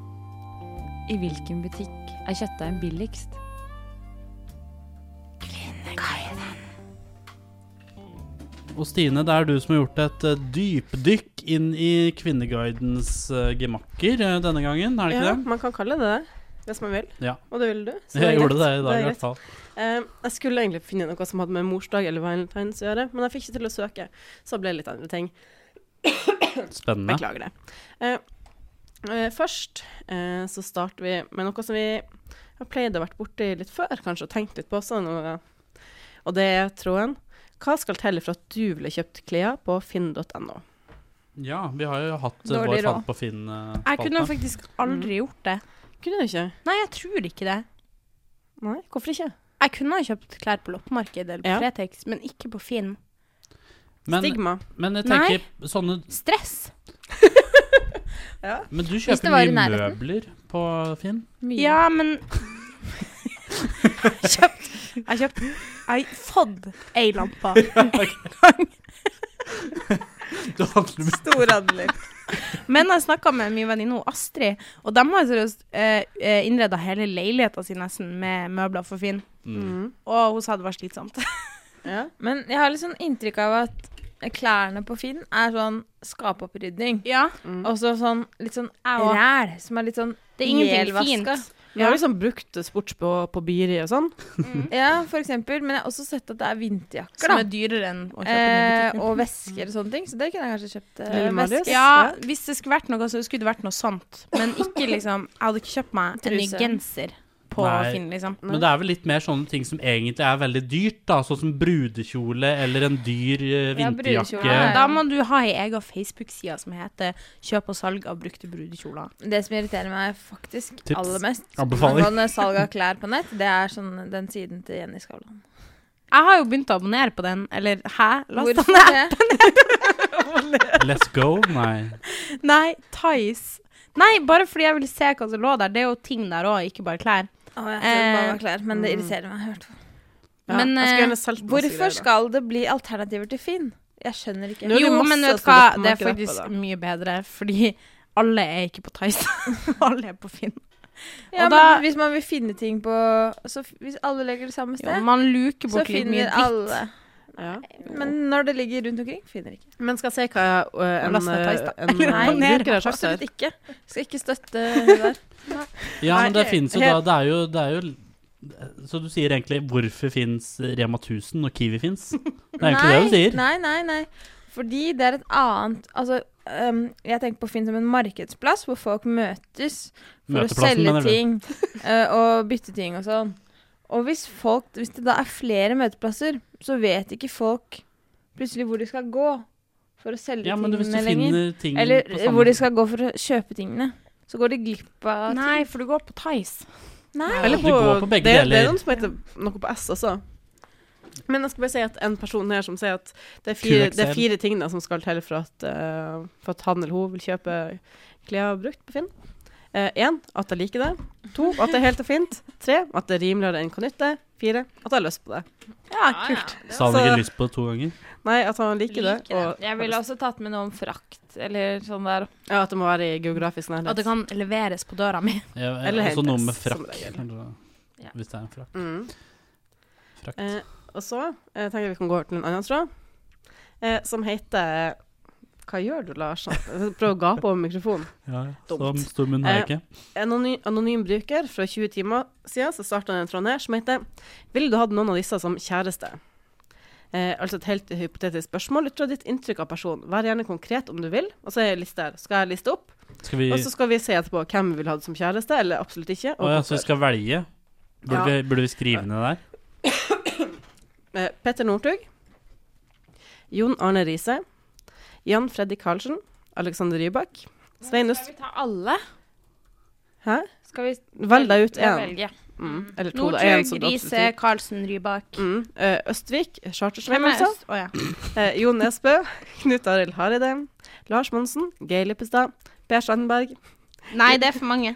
Speaker 3: I hvilken butikk er kjøttdeigen billigst?
Speaker 4: Og Stine, det er du som har gjort et eh, dypdykk inn i Kvinneguidens eh, gemakker eh, denne gangen, er det ikke
Speaker 6: Ja, man kan kalle det det. Hvis man vil.
Speaker 4: Ja.
Speaker 6: Og det vil du. så
Speaker 4: det? Jeg
Speaker 6: er
Speaker 4: gjorde det
Speaker 6: greit.
Speaker 4: i dag, i
Speaker 6: er greit.
Speaker 4: hvert fall.
Speaker 6: Eh, jeg skulle egentlig finne noe som hadde med morsdag eller valentines å gjøre, men jeg fikk ikke til å søke. Så ble det litt andre ting.
Speaker 4: Spennende.
Speaker 6: Beklager det. Eh, eh, først eh, så starter vi med noe som vi har pleid å vært borti litt før, kanskje, og tenkt litt på sånn. Og, og det er tråden Hva skal til for at du ville kjøpt klær på finn.no?
Speaker 4: Ja, vi har jo hatt eh,
Speaker 2: Dårlig
Speaker 4: vår
Speaker 2: råd.
Speaker 4: fant på Finn. eh,
Speaker 7: Jeg kunne
Speaker 4: spalte.
Speaker 7: faktisk aldri gjort det.
Speaker 6: Kunne du ikke?
Speaker 7: Nei, jeg tror ikke det.
Speaker 6: Nei, hvorfor ikke?
Speaker 7: Jeg kunne ha kjøpt klær på loppemarked eller på
Speaker 6: Ja.
Speaker 7: Fretex, men ikke på Finn.
Speaker 4: men,
Speaker 6: Stigma.
Speaker 4: men jeg tenker sånne
Speaker 7: Stress!
Speaker 4: Men du
Speaker 5: det
Speaker 4: kjøper
Speaker 5: var i
Speaker 4: mye
Speaker 5: nærheten.
Speaker 4: møbler på Finn?
Speaker 5: Mye.
Speaker 7: Ja, men Jeg kjøpt Jeg kjøpt Jeg har fått ei lampe.
Speaker 4: Du handler med
Speaker 2: Storhandler.
Speaker 7: Men jeg snakka med min venninne hun Astrid, og de har seriøst eh, innreda hele leiligheta si nesten med møbler for Finn.
Speaker 4: mm.
Speaker 7: Og hun sa det var slitsomt.
Speaker 6: Ja.
Speaker 2: Men jeg har litt sånn inntrykk av at klærne på Finn er sånn skapopprydning.
Speaker 7: Ja,
Speaker 2: Og så sånn litt sånn
Speaker 7: Au.
Speaker 2: ræl som er litt sånn
Speaker 7: det er ingenting
Speaker 2: ihjelvaska.
Speaker 7: fint.
Speaker 6: Vi har liksom brukt sportsbå på Biri og sånn.
Speaker 2: Ja, for eksempel. Men jeg har også sett at det er vinterjakker,
Speaker 7: Som
Speaker 2: da.
Speaker 7: er dyrere enn å kjøpe den i
Speaker 2: Eh,
Speaker 7: butikken.
Speaker 2: og vesker og sånne ting. Så det kunne jeg kanskje kjøpt. Eh,
Speaker 6: Lille Marius?
Speaker 2: vesker.
Speaker 7: Ja, hvis det skulle vært noe, så skulle det vært noe sånt. Men ikke liksom Jeg hadde ikke kjøpt meg en ny
Speaker 2: Truse.
Speaker 7: genser på
Speaker 4: Nei.
Speaker 7: Finn, liksom.
Speaker 4: Men det er vel litt mer sånne ting som egentlig er veldig dyrt, da. Sånn som brudekjole eller en dyr eh,
Speaker 2: Ja,
Speaker 4: vinterjakke.
Speaker 2: brudekjole er-
Speaker 7: Da må du ha ei egen Facebook-side som heter 'Kjøp og salg av brukte brudekjoler'.
Speaker 2: Det som irriterer meg faktisk
Speaker 4: Tips.
Speaker 2: aller mest
Speaker 4: Anbefaling.
Speaker 2: angående salg av klær på nett, det er sånn den siden til Jenny Skavlan.
Speaker 7: Jeg har jo begynt å abonnere på den, eller hæ? Lasta
Speaker 2: Hvorfor
Speaker 7: ned?
Speaker 2: det?
Speaker 4: Let's go? Nei.
Speaker 7: Nei, Thais. Nei, bare fordi jeg ville se hva som lå der. Det er jo ting der òg, ikke bare klær.
Speaker 2: Å, jeg trodde det bare
Speaker 7: Eh,
Speaker 2: var klær, men det irriterer meg. i hvert fall.
Speaker 6: Ja,
Speaker 7: Men,
Speaker 6: jeg skulle
Speaker 7: eh,
Speaker 6: gjerne solgt masse greier,
Speaker 2: Mm. Hvorfor
Speaker 6: da.
Speaker 2: skal det bli alternativer til Finn? Jeg skjønner ikke.
Speaker 6: Nå er det
Speaker 7: Jo,
Speaker 6: masse
Speaker 7: men vet du
Speaker 6: som
Speaker 7: hva,
Speaker 6: loppemarked
Speaker 7: det er
Speaker 6: oppe, da.
Speaker 7: faktisk mye bedre, fordi alle er ikke på Thais. alle er på Finn.
Speaker 2: Ja,
Speaker 7: Og da-
Speaker 2: men hvis man vil finne ting på så f- Hvis alle legger det samme sted,
Speaker 7: Jo, man luker
Speaker 2: så
Speaker 7: bort litt mye
Speaker 2: finner
Speaker 7: dritt.
Speaker 2: alle.
Speaker 6: Ja.
Speaker 2: Men når det ligger rundt omkring, finner ikke.
Speaker 6: Men skal jeg si hva ø, en, eh,
Speaker 2: Last ned Theis, da.
Speaker 6: en
Speaker 2: Nei,
Speaker 6: bruker har sagt
Speaker 2: absolutt
Speaker 6: her?
Speaker 2: ikke. Skal ikke støtte det der.
Speaker 4: Ja, men det
Speaker 2: Nei,
Speaker 4: finnes jo da
Speaker 2: helt-
Speaker 4: Det er jo, det er jo Så du sier egentlig hvorfor fins Rema 1000 når Kiwi fins? Det er egentlig det du sier.
Speaker 2: Nei, nei, nei. Fordi det er et annet Altså, øhm, jeg tenker på Finn som en markedsplass hvor folk møtes for å
Speaker 4: Møteplassen,
Speaker 2: selge
Speaker 4: mener du?
Speaker 2: ting øh, og bytte ting og sånn. Og hvis, folk, hvis det da er flere møteplasser, så vet ikke folk plutselig hvor de skal gå for å selge
Speaker 4: Ja, men du- hvis du
Speaker 2: tingene lenger.
Speaker 4: finner ting
Speaker 2: Eller
Speaker 4: på samme-
Speaker 2: hvor de skal gå for å kjøpe tingene. Så går de glipp av ting.
Speaker 5: Nei, for du går på Tice.
Speaker 2: Nei.
Speaker 6: Eller
Speaker 4: Du går på begge
Speaker 6: det, Det
Speaker 4: deler.
Speaker 6: er noen som heter noe på S også. Men jeg skal bare si at en person her som sier at det er fire,
Speaker 4: QXL.
Speaker 6: det er fire ting da, som skal til for at, eh, for at han eller hun vil kjøpe klær brukt på Finn. Én, at jeg liker det. To, at det er helt og fint. Tre, at det er rimeligere enn kan nytte. Fire, at jeg har lyst på det.
Speaker 2: Ja, kult.
Speaker 4: Sa han ikke
Speaker 6: Så-
Speaker 4: lyst på det to ganger?
Speaker 6: Nei, at han
Speaker 5: Liker
Speaker 6: liker, det. Og,
Speaker 5: Jeg ville også tatt med noe om frakt eller sånn der.
Speaker 6: ja, at det må være i geografisk nærhet.
Speaker 7: At det kan leveres på døra mi.
Speaker 4: Ja,
Speaker 6: Eller
Speaker 4: også
Speaker 6: helt
Speaker 4: noe med
Speaker 6: S, som
Speaker 4: frakk.
Speaker 6: regel.
Speaker 4: eller-
Speaker 5: Ja.
Speaker 4: Hvis det er en frakk.
Speaker 6: Mm.
Speaker 4: Frakt.
Speaker 6: Eh, og så eh, tenker jeg vi kan gå over til en annen tråd, eh, som heter Hva gjør du, Lars? Prøv å gape over mikrofonen.
Speaker 4: Ja,
Speaker 6: dumt.
Speaker 4: som stor munn har jeg ikke.
Speaker 6: Anony anonym bruker fra 20 timer siden så starta en tråd her som heter 'Ville du hatt noen av disse som kjæreste?' Eh, altså et helt hypotetisk spørsmål ut fra ditt inntrykk av personen. Vær gjerne konkret om du vil. Og så er jeg liste her. Skal jeg liste opp?
Speaker 4: Skal vi
Speaker 6: Og så skal vi se etterpå hvem vi vil ha som kjæreste, eller absolutt ikke. Og
Speaker 4: Å ja,
Speaker 6: hvorfor.
Speaker 4: så vi skal velge? Burde,
Speaker 6: Ja.
Speaker 4: vi, burde vi skrive ned der?
Speaker 6: Eh, Petter Northug. Jon Arne Riise. Jan Freddy Karlsen. Alexander Rybak. Svein Øst...
Speaker 5: Skal vi ta alle?
Speaker 6: Hæ?
Speaker 5: Skal vi
Speaker 6: Velg deg ut
Speaker 5: Ja,
Speaker 6: én.
Speaker 5: velge?
Speaker 6: Mm. Eller to, da. Én som
Speaker 7: Northug,
Speaker 6: du absolutt
Speaker 7: Riise,
Speaker 6: vil.
Speaker 7: Karlsen, Rybak.
Speaker 6: Mm. Eh, Østvik. Chartersveien,
Speaker 7: Hvem er
Speaker 6: altså.
Speaker 7: øst? Å ja.
Speaker 6: Eh, Jon Nesbø. Knut Arild Hareide. Lars Monsen. Geir Lippestad. Per Sandberg.
Speaker 7: Nei, det er for mange.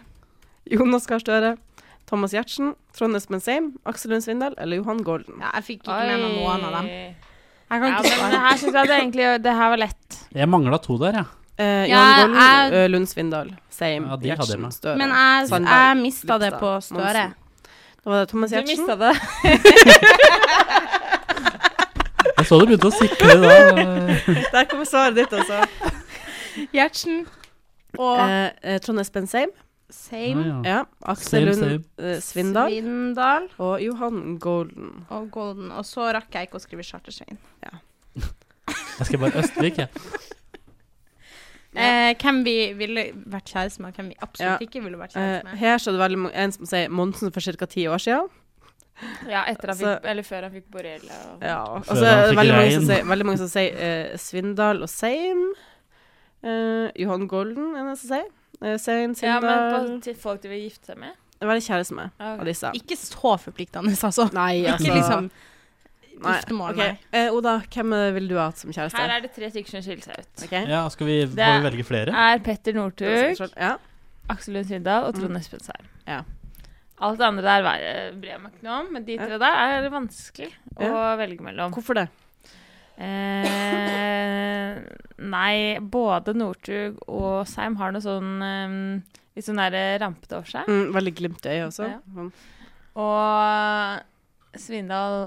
Speaker 6: Jonas Gahr Støre. Thomas Giertsen. Trond Espen Seim. Aksel Lund Svindal. Eller Johan Golden.
Speaker 7: Ja, jeg fikk ikke med meg noen av dem. Jeg kan
Speaker 5: Ja,
Speaker 7: ikke
Speaker 5: men det
Speaker 7: svare.
Speaker 5: her synes jeg det egentlig det her var lett.
Speaker 4: Jeg mangla to der, ja.
Speaker 6: Eh, Johan
Speaker 7: Ja,
Speaker 6: Golden.
Speaker 7: jeg-
Speaker 6: eh, Lund Svindal. Seim.
Speaker 4: Ja, de hadde jeg
Speaker 6: Gjertsen.
Speaker 4: med.
Speaker 6: Støre.
Speaker 7: Men jeg,
Speaker 6: Sandberg,
Speaker 7: jeg mista det på
Speaker 6: Lippstad,
Speaker 7: Støre.
Speaker 6: Monsen. Da var det Thomas
Speaker 2: Du
Speaker 6: Giertsen.
Speaker 2: mista det.
Speaker 4: Jeg så du begynte å sikre da.
Speaker 6: Der kommer svaret ditt, altså.
Speaker 7: Gjertsen og
Speaker 6: Eh, eh, Trond Espen Seim.
Speaker 7: Seim.
Speaker 6: Ja. Aksel
Speaker 4: Mm. Seim,
Speaker 6: Lund eh, Svindal.
Speaker 7: Svindal
Speaker 6: Og Johan Golden.
Speaker 7: og Golden. Og så rakk jeg ikke å skrive Chartersveien.
Speaker 4: Jeg skal bare Østvik, jeg.
Speaker 7: Eh, hvem vi ville vært kjæreste med, og hvem vi absolutt
Speaker 6: Ja.
Speaker 7: ikke ville vært
Speaker 6: Eh,
Speaker 7: kjæreste med.
Speaker 6: her står det veldig mange, en som sier Monsen for ca. ti år siden.
Speaker 5: Ja, etter han
Speaker 6: Så-
Speaker 5: fikk, eller før han fikk borrelia. og-
Speaker 6: Ja. Og
Speaker 4: Før
Speaker 6: så er
Speaker 4: han
Speaker 6: det
Speaker 4: fikk
Speaker 6: veldig mange, som
Speaker 4: regn.
Speaker 6: sier, veldig mange som sier eh, Svindal og Seim. Eh, Johan Golden er det som sier. Eh, Sein
Speaker 5: Ja, men
Speaker 6: Svindal
Speaker 5: på, til folk de vil gifte seg med?
Speaker 6: Hva er det kjæreste med av disse?
Speaker 7: Ikke så forpliktende, altså.
Speaker 6: Nei,
Speaker 7: Ikke liksom
Speaker 6: Nei.
Speaker 7: giftermål,
Speaker 6: Ok.
Speaker 7: nei.
Speaker 6: Eh, Oda, hvem eh, vil du ha som
Speaker 5: Her
Speaker 6: kjæreste?
Speaker 5: er det tre stykker som skiller seg ut.
Speaker 6: Ok.
Speaker 4: Ja, skal vi,
Speaker 5: Det
Speaker 4: må
Speaker 5: er-
Speaker 4: vi velge flere?
Speaker 5: Er Petter Northug,
Speaker 6: Ja.
Speaker 5: Aksel Lund Svindal og Trond Espen Seim.
Speaker 6: Ja.
Speaker 5: Alt det andre der var- Eh, bryr jeg meg ikke noe om, men de tre der er vanskelig å
Speaker 6: Ja.
Speaker 5: velge mellom.
Speaker 6: Hvorfor det?
Speaker 5: Eh, nei, både Northug og Seim har noe sånn eh, litt sånn der rampete over seg.
Speaker 6: Mm, veldig glimt i øyet også.
Speaker 5: Ja.
Speaker 6: Sånn.
Speaker 5: Og Svindal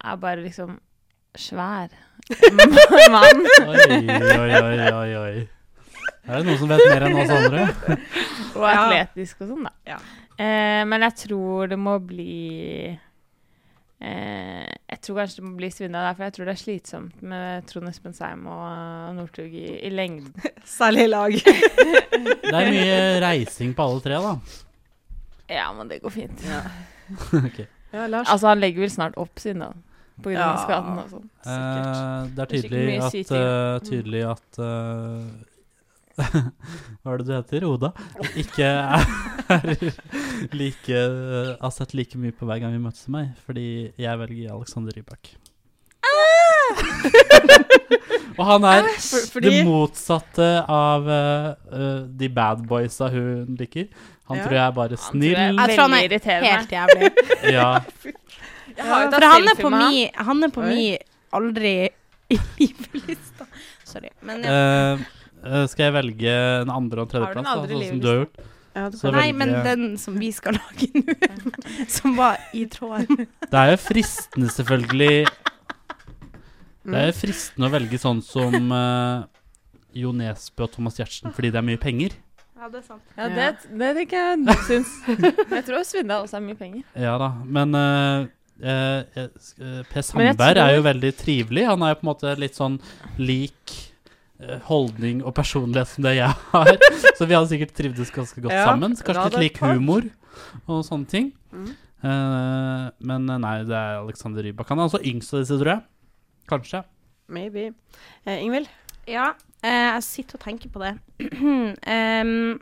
Speaker 5: er bare liksom svær mann.
Speaker 4: Oi, oi, oi, oi, oi. Er det noen som vet mer enn oss andre?
Speaker 5: Og atletisk og sånn, da.
Speaker 6: Ja.
Speaker 5: Eh, men jeg tror det må bli eh, Jeg tror kanskje det må bli Svindal der, for jeg tror det er slitsomt med Trond Espen Seim og eh, Northug i, i lengden.
Speaker 6: Særlig i lag.
Speaker 4: Det er mye reising på alle tre, da.
Speaker 5: Ja, men det går fint.
Speaker 4: Ok.
Speaker 6: Ja, Lars.
Speaker 5: Altså, han legger vel snart opp Svindal. På grunn av
Speaker 6: Ja.
Speaker 5: skaden og sånn.
Speaker 4: Eh,
Speaker 5: Det
Speaker 4: det er
Speaker 5: er sikkert
Speaker 4: tydelig
Speaker 5: mye
Speaker 4: at,
Speaker 5: syting,
Speaker 4: eh, tydelig at eh, Hva er det du heter? Oda? Ikke er like eh, Har sett like mye på hver gang vi møtes som meg, fordi jeg velger Alexander Rybak. Og han er
Speaker 6: For-
Speaker 4: det
Speaker 6: fordi-
Speaker 4: motsatte av eh, eh, de bad boysa hun liker. Han
Speaker 6: Ja.
Speaker 4: tror jeg er bare
Speaker 5: tror jeg er
Speaker 4: snill.
Speaker 7: Jeg tror han
Speaker 5: Veldig
Speaker 7: er
Speaker 5: irriterende.
Speaker 7: helt jævlig.
Speaker 4: Ja.
Speaker 5: Jeg har jo
Speaker 7: For
Speaker 5: tatt
Speaker 7: han er på
Speaker 5: selfie med han.
Speaker 7: mi, han er på
Speaker 6: Oi.
Speaker 7: mi aldri i livet-lista. Sorry. Men, ja.
Speaker 4: Eh, eh, skal jeg velge en andre og en
Speaker 5: Har du en
Speaker 4: tredjeplass, da,
Speaker 5: andre
Speaker 4: sånn som
Speaker 5: livliste?
Speaker 4: du har gjort?
Speaker 6: Ja, det
Speaker 4: Så
Speaker 6: kan-
Speaker 4: velger
Speaker 7: Nei, men
Speaker 4: jeg-
Speaker 7: den som vi skal lage nå, som var i tråden.
Speaker 4: Det er jo fristende, selvfølgelig. Det er fristende å velge sånn som eh, Jo Nesbø og Thomas Giertsen fordi det er mye penger.
Speaker 7: Ja, det er sant.
Speaker 2: Ja, det, det tenker jeg du syns.
Speaker 5: Men jeg tror Svindal også har mye penger.
Speaker 4: Ja da, men eh, eh, eh, sk- eh, Per
Speaker 5: Men jeg
Speaker 4: Sandberg
Speaker 5: tror-
Speaker 4: er jo veldig trivelig. Han er jo på en måte litt sånn lik eh, holdning og personlighet som det jeg har. Så vi hadde sikkert trivdes ganske godt
Speaker 2: Ja,
Speaker 4: sammen.
Speaker 2: la
Speaker 4: Kanskje litt
Speaker 2: det
Speaker 4: lik
Speaker 2: ta.
Speaker 4: humor og sånne ting.
Speaker 6: Mm.
Speaker 4: Eh, men eh, nei, det er Alexander Rybak. Han er altså yngst av disse, tror jeg. Kanskje.
Speaker 6: Maybe. Eh, Ingvild?
Speaker 7: Ja, eh, jeg sitter og tenker på det. Em,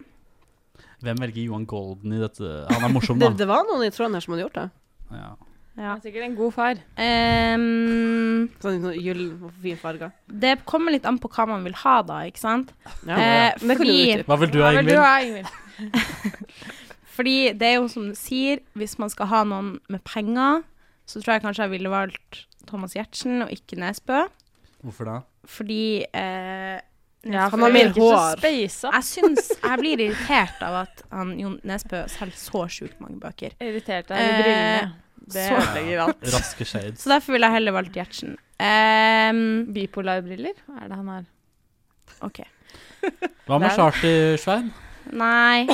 Speaker 4: Hvem velger Johan Golden i dette? Han er morsom,
Speaker 6: Det,
Speaker 4: da.
Speaker 6: det var noen i Trondheim som hadde gjort det.
Speaker 4: Ja.
Speaker 7: ja.
Speaker 5: Han er sikkert en god far.
Speaker 7: Em,
Speaker 6: Sånn sånn gyllen og fin farge.
Speaker 7: det kommer litt an på hva man vil ha, da, ikke sant?
Speaker 6: Ja.
Speaker 7: Eh,
Speaker 6: Men det kan du
Speaker 7: fordi-
Speaker 6: utdype.
Speaker 4: Hva vil du ha,
Speaker 5: Hva vil du
Speaker 4: Ingvild?
Speaker 5: ha, Ingvild?
Speaker 7: Fordi det er jo som du sier, hvis man skal ha noen med penger, så tror jeg kanskje jeg ville valgt Thomas Giertsen og ikke Nesbø.
Speaker 4: Hvorfor da?
Speaker 7: Fordi eh,
Speaker 6: Han har mer hår.
Speaker 5: Beisa.
Speaker 7: Jeg syns Jeg blir irritert av at han, Jon Nesbø selger så sjukt mange bøker.
Speaker 5: Irritert deg
Speaker 7: Eh,
Speaker 5: i brillene. Det
Speaker 7: så-
Speaker 5: ødelegger alt.
Speaker 4: Raske shades.
Speaker 7: Så derfor ville jeg heller valgt Giertsen. Ehm,
Speaker 5: Bipolarbriller er det han har.
Speaker 7: OK.
Speaker 4: Hva med
Speaker 5: Der.
Speaker 4: charter, Svein?
Speaker 7: Nei.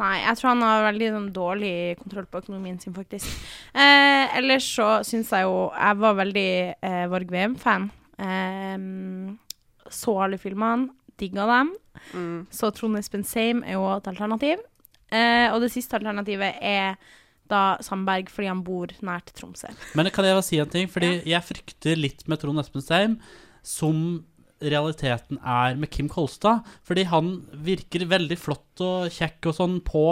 Speaker 7: Nei, jeg tror han har veldig sånn, dårlig kontroll på økonomien sin, faktisk. Eh, ellers så syns jeg jo Jeg var veldig eh, Varg Veum-fan. Ehm, så alle filmene, digga dem.
Speaker 6: Mm.
Speaker 7: Så Trond Espen Seim er jo et alternativ. Eh, og det siste alternativet er da Sandberg, fordi han bor nært Tromsø.
Speaker 4: Men kan jeg bare si en ting? Fordi jeg frykter litt med Trond Espen Seim, som realiteten er med Kim Kolstad. Fordi han virker veldig flott og kjekk og sånn på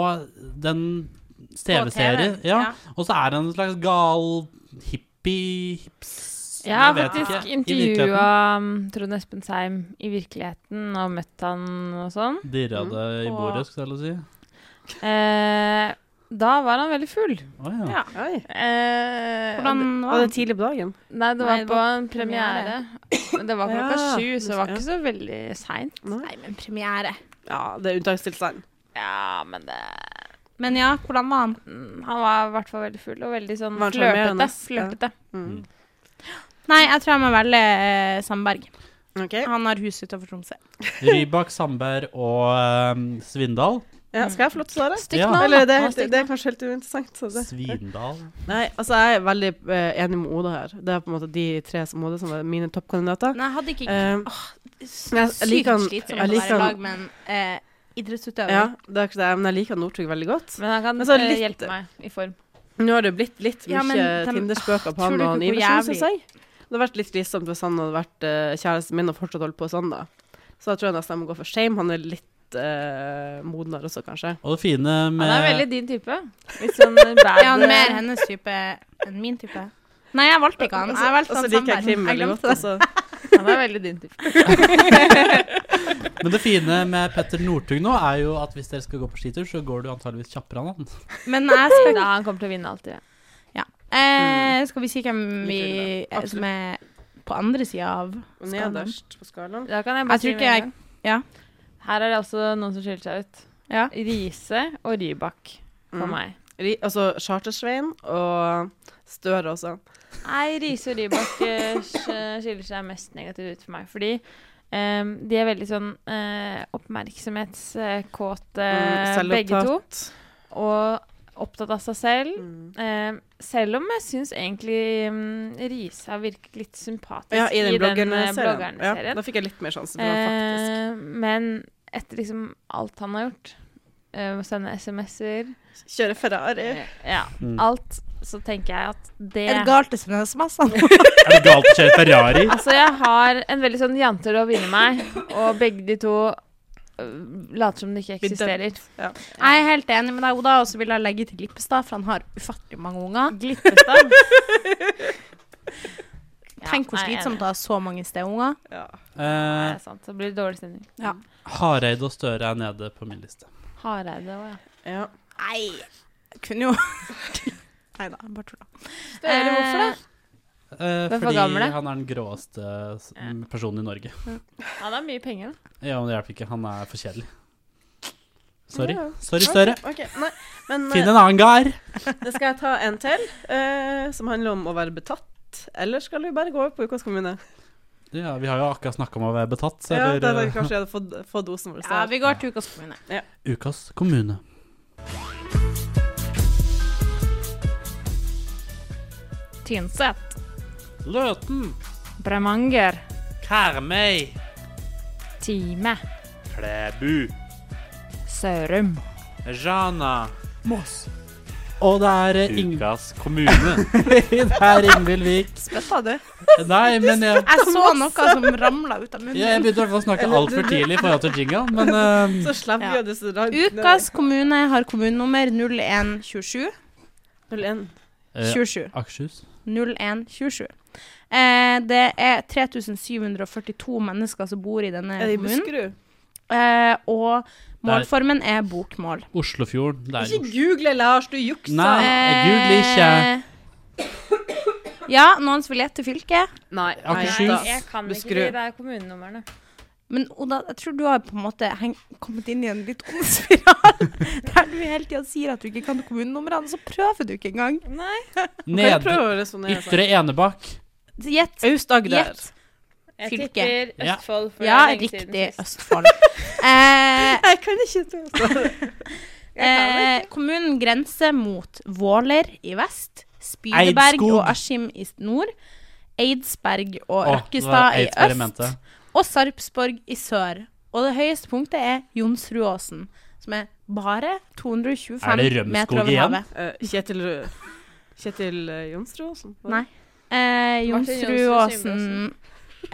Speaker 4: den TV-serien.
Speaker 7: På TV,
Speaker 4: Ja.
Speaker 7: ja.
Speaker 4: Og så er han en slags gal hippie hips,
Speaker 5: Jeg har
Speaker 4: vet
Speaker 5: faktisk
Speaker 4: ikke, i virkeligheten.
Speaker 5: intervjua Trond Espen Seim i virkeligheten og møtt han og sånn.
Speaker 4: Dirra det i
Speaker 5: Og-
Speaker 4: bordet, skulle jeg til å si.
Speaker 5: Eh, da var han veldig full.
Speaker 4: Å, ja.
Speaker 6: Oi.
Speaker 5: Eh,
Speaker 7: Hvordan
Speaker 6: Var
Speaker 7: var
Speaker 6: det
Speaker 7: det?
Speaker 6: tidlig på dagen?
Speaker 5: Nei, det var
Speaker 7: Nei, det
Speaker 5: på
Speaker 7: var
Speaker 5: en premiere. Men Det var klokka
Speaker 6: Ja,
Speaker 5: sju, så det var
Speaker 6: ja.
Speaker 5: ikke så veldig seint.
Speaker 7: Nei, men premiere.
Speaker 6: Ja, det er unntakstilstand.
Speaker 5: Ja, men det
Speaker 7: Men ja, hvordan var han?
Speaker 5: Mm, Han var i hvert fall veldig full og veldig sånn
Speaker 6: Var han
Speaker 5: flørtete.
Speaker 6: sjarmerende?
Speaker 5: flørtete.
Speaker 6: Mm.
Speaker 7: Nei, jeg tror jeg må velge eh, Sandberg.
Speaker 6: OK.
Speaker 7: Han har hus utenfor Tromsø.
Speaker 4: Rybak, Sandberg og ehm, Svindal.
Speaker 6: Ja, skal jeg få lov til å svare?
Speaker 4: Ja.
Speaker 6: Eller det, er helt-
Speaker 5: Stygt
Speaker 6: det er kanskje helt uinteressant. Så det.
Speaker 4: Svindal.
Speaker 6: Nei, altså jeg er veldig eh, enig med Oda her. Det er på en måte de tre som Oda som er mine toppkandidater.
Speaker 7: Nei, jeg hadde ikke
Speaker 6: Eh, men jeg- jeg
Speaker 7: sykt
Speaker 6: liker han-
Speaker 7: slitsomt å
Speaker 6: jeg
Speaker 7: være i
Speaker 6: liker han-
Speaker 7: lag med en eh, idrettsutøver.
Speaker 6: ja, det er ikke det, men jeg liker Northug veldig godt.
Speaker 5: Men han kan
Speaker 6: Men så
Speaker 5: eh,
Speaker 6: litt-
Speaker 5: hjelpe meg i form.
Speaker 6: Nå har det blitt litt mye
Speaker 7: Ja, men dem-
Speaker 6: Tinder-spøker på
Speaker 7: Tror
Speaker 6: han
Speaker 7: du
Speaker 6: og han
Speaker 7: ikke hvor
Speaker 6: Iversen,
Speaker 7: jævlig-
Speaker 6: syns jeg. Det hadde vært litt slitsomt hvis han hadde vært eh, kjæresten min og fortsatt holdt på sånn, da. Så da tror jeg nesten jeg må gå for shame. Han er litt eh, modnere også, kanskje.
Speaker 4: Og det fine med
Speaker 5: Eh. Han er veldig din type. Litt sånn eh, bad
Speaker 7: Er han mer hennes type enn min type? Nei, jeg valgte ikke han. Jeg valgte
Speaker 6: Og så
Speaker 7: han
Speaker 6: Altså, liker jeg
Speaker 7: Sandberg.
Speaker 6: Kim veldig godt.
Speaker 7: glemte det.
Speaker 6: Altså.
Speaker 5: Han er veldig din type.
Speaker 4: Men det fine med Petter Northug nå er jo at hvis dere skal gå på skitur, så går du antageligvis kjappere enn han.
Speaker 7: Men jeg skal
Speaker 6: altså.
Speaker 5: Da han kommer til å vinne alltid.
Speaker 7: eh, Skal vi si hvem vi
Speaker 6: Mm. Liker det.
Speaker 7: eh, som er på andre sida av
Speaker 6: Og
Speaker 7: Skalaen.
Speaker 6: Nederst på skalaen.
Speaker 5: Da kan jeg
Speaker 7: Jeg
Speaker 5: bare
Speaker 7: tror
Speaker 5: si med
Speaker 7: ikke jeg-
Speaker 5: en gang.
Speaker 7: ja.
Speaker 5: Her er det også noen som skiller seg ut.
Speaker 7: Ja.
Speaker 5: Riise og Rybak for
Speaker 6: Mm.
Speaker 5: meg.
Speaker 6: Ri- Altså Chartersvein og Støre også.
Speaker 5: Nei, Riise og Rybak eh, sk- skiller seg mest negativt ut for meg. Fordi ehm, de er veldig sånn eh, oppmerksomhetskåte,
Speaker 6: Mm,
Speaker 5: begge to.
Speaker 6: selvopptatt.
Speaker 5: Og opptatt av seg selv.
Speaker 6: Mm.
Speaker 5: Eh, selv om jeg syns egentlig mm, Riise har virket litt sympatisk
Speaker 6: Ja, i den
Speaker 5: eh,
Speaker 6: bloggerne-serien. Ja,
Speaker 5: bloggerne-serien.
Speaker 6: da fikk jeg litt mer sjanse på den, faktisk.
Speaker 5: Eh, men etter liksom alt han har gjort, eh, sende SMS-er
Speaker 6: Kjøre Ferrari.
Speaker 5: eh, Ja,
Speaker 4: Mm.
Speaker 5: alt. Så tenker jeg at det
Speaker 7: Er det galt å sende SMS? da?
Speaker 4: Er det galt å kjøre Ferrari?
Speaker 5: Altså, jeg har en veldig sånn jantelov inni meg, og begge de to øh, later som det ikke
Speaker 6: Blir
Speaker 5: eksisterer.
Speaker 7: Jeg er helt enig med deg, Oda, og så vil jeg legge til Lippestad, for han har ufattelig mange unger.
Speaker 5: Glippestad. Ja,
Speaker 7: Tenk hvor
Speaker 5: nei, jeg er
Speaker 7: slitsomt
Speaker 5: enig.
Speaker 7: det er så mange stedunger.
Speaker 6: Ja.
Speaker 5: Nei,
Speaker 4: Eh,
Speaker 5: det er sant. Det blir dårlig stemning.
Speaker 4: Hareide og Støre er nede på min liste.
Speaker 5: Hareide òg, ja.
Speaker 6: ja.
Speaker 7: Nei, jeg kunne jo Nei da, bare tulla.
Speaker 5: Støre, hvorfor det?
Speaker 4: Eh,
Speaker 5: Hvem var
Speaker 4: fordi
Speaker 5: gammel, da?
Speaker 4: han er den gråeste s-
Speaker 5: Ja.
Speaker 4: personen i Norge.
Speaker 5: Han har mye penger, da.
Speaker 4: Ja, men det hjelper ikke. Han er for kjedelig. Sorry.
Speaker 6: Ja.
Speaker 4: Sorry, Støre.
Speaker 6: Ok, ok, Nei, men
Speaker 4: Finn en annen gar.
Speaker 6: eh, da skal jeg ta en til, eh, som handler om å være betatt. betatt, eller skal vi bare gå over på ukas kommune?
Speaker 4: Ja, vi har jo akkurat snakka om å være betatt, så
Speaker 6: Ja, da hadde
Speaker 4: eller
Speaker 6: vi kanskje jeg hadde fått, fått dosen vår.
Speaker 7: Ja, vi går til ukas kommune.
Speaker 6: Ja.
Speaker 4: Ukas kommune.
Speaker 2: Tynset.
Speaker 4: Løten.
Speaker 2: Bremanger.
Speaker 4: Karmøy.
Speaker 2: Time.
Speaker 4: Klæbu.
Speaker 2: Sørum.
Speaker 4: Rana. Moss. Og det er eh, Ing... Ukas kommune. det er Ingvild Vik.
Speaker 7: Spytta du?
Speaker 4: Nei, men jeg,
Speaker 7: Jeg så noe som ramla ut av munnen.
Speaker 4: jeg begynte i hvert fall å snakke altfor tidlig i forhold til jinglen, men eh,
Speaker 6: Så slapp vi
Speaker 7: Ja.
Speaker 6: av det så langt.
Speaker 7: Ukas kommune har kommunenummer 0127.
Speaker 6: 01.
Speaker 4: eh,
Speaker 7: 27.
Speaker 4: Akershus.
Speaker 7: 0127. Eh, det er 3742 mennesker som bor i denne
Speaker 6: Er det i
Speaker 7: kommunen.
Speaker 6: Buskerud?
Speaker 7: Eh, og målformen er bokmål.
Speaker 4: Oslofjorden. Det er jo
Speaker 6: Ikke google, Lars, du jukser.
Speaker 4: Nei, jeg googler ikke.
Speaker 7: Eh, Ja, noen som vil gjette fylket.
Speaker 6: Nei,
Speaker 4: Akershus.
Speaker 6: da.
Speaker 4: Nei,
Speaker 2: Jeg kan ikke de
Speaker 6: Buskerud.
Speaker 2: der kommunenumrene.
Speaker 7: Men Oda, jeg tror du har på en måte heng kommet inn i en litt ond spiral. der du hele tida sier at du ikke kan kommunenumrene, så prøver du ikke engang.
Speaker 6: Kan jeg
Speaker 4: Ned,
Speaker 6: prøve å resonnere sånn?
Speaker 4: Ytre Enebakk.
Speaker 7: Gjett.
Speaker 6: Aust-Agder.
Speaker 7: Gjett.
Speaker 2: Jeg
Speaker 7: Fylke.
Speaker 2: tipper
Speaker 4: Ja.
Speaker 2: Østfold. for
Speaker 7: Ja,
Speaker 2: lenge siden
Speaker 7: riktig.
Speaker 2: sist.
Speaker 7: Østfold. Eh,
Speaker 6: Jeg kan ikke tro
Speaker 7: eh, kommunen grenser mot Våler i vest, Spydeberg
Speaker 4: Eidskog.
Speaker 7: og Askim i s- nord, Eidsberg og
Speaker 4: Å, det var
Speaker 7: Rakkestad i
Speaker 4: eksperimentet.
Speaker 7: øst og Sarpsborg i sør. Og det høyeste punktet er Jonsrudåsen, som er bare 225
Speaker 4: Er det
Speaker 7: meter over havet.
Speaker 4: Rømskog igjen?
Speaker 6: Eh, Kjetil Kjetil eh, Jonsrud Aasen?
Speaker 7: Nei. Eh,
Speaker 2: Martin Jonsrud
Speaker 7: Jonsrudåsen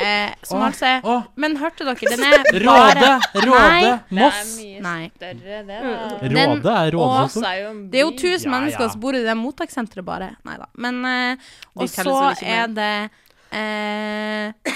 Speaker 7: eh, Som
Speaker 4: Å,
Speaker 7: altså er
Speaker 4: å,
Speaker 7: Men hørte dere, den er
Speaker 4: Råde!
Speaker 7: bare
Speaker 4: Råde!
Speaker 2: Det er
Speaker 4: Moss!
Speaker 2: mye
Speaker 7: Nei.
Speaker 2: større, det da.
Speaker 7: Den-
Speaker 4: Råde altså.
Speaker 7: og-
Speaker 4: er rådehusord.
Speaker 2: Moss er jo en by.
Speaker 7: Det er jo 1000
Speaker 4: Ja, ja.
Speaker 7: mennesker som bor i det mottakssenteret, bare. Nei da. Men eh,
Speaker 6: De
Speaker 7: Og
Speaker 6: telles
Speaker 7: så
Speaker 6: vel ikke
Speaker 7: er det eh,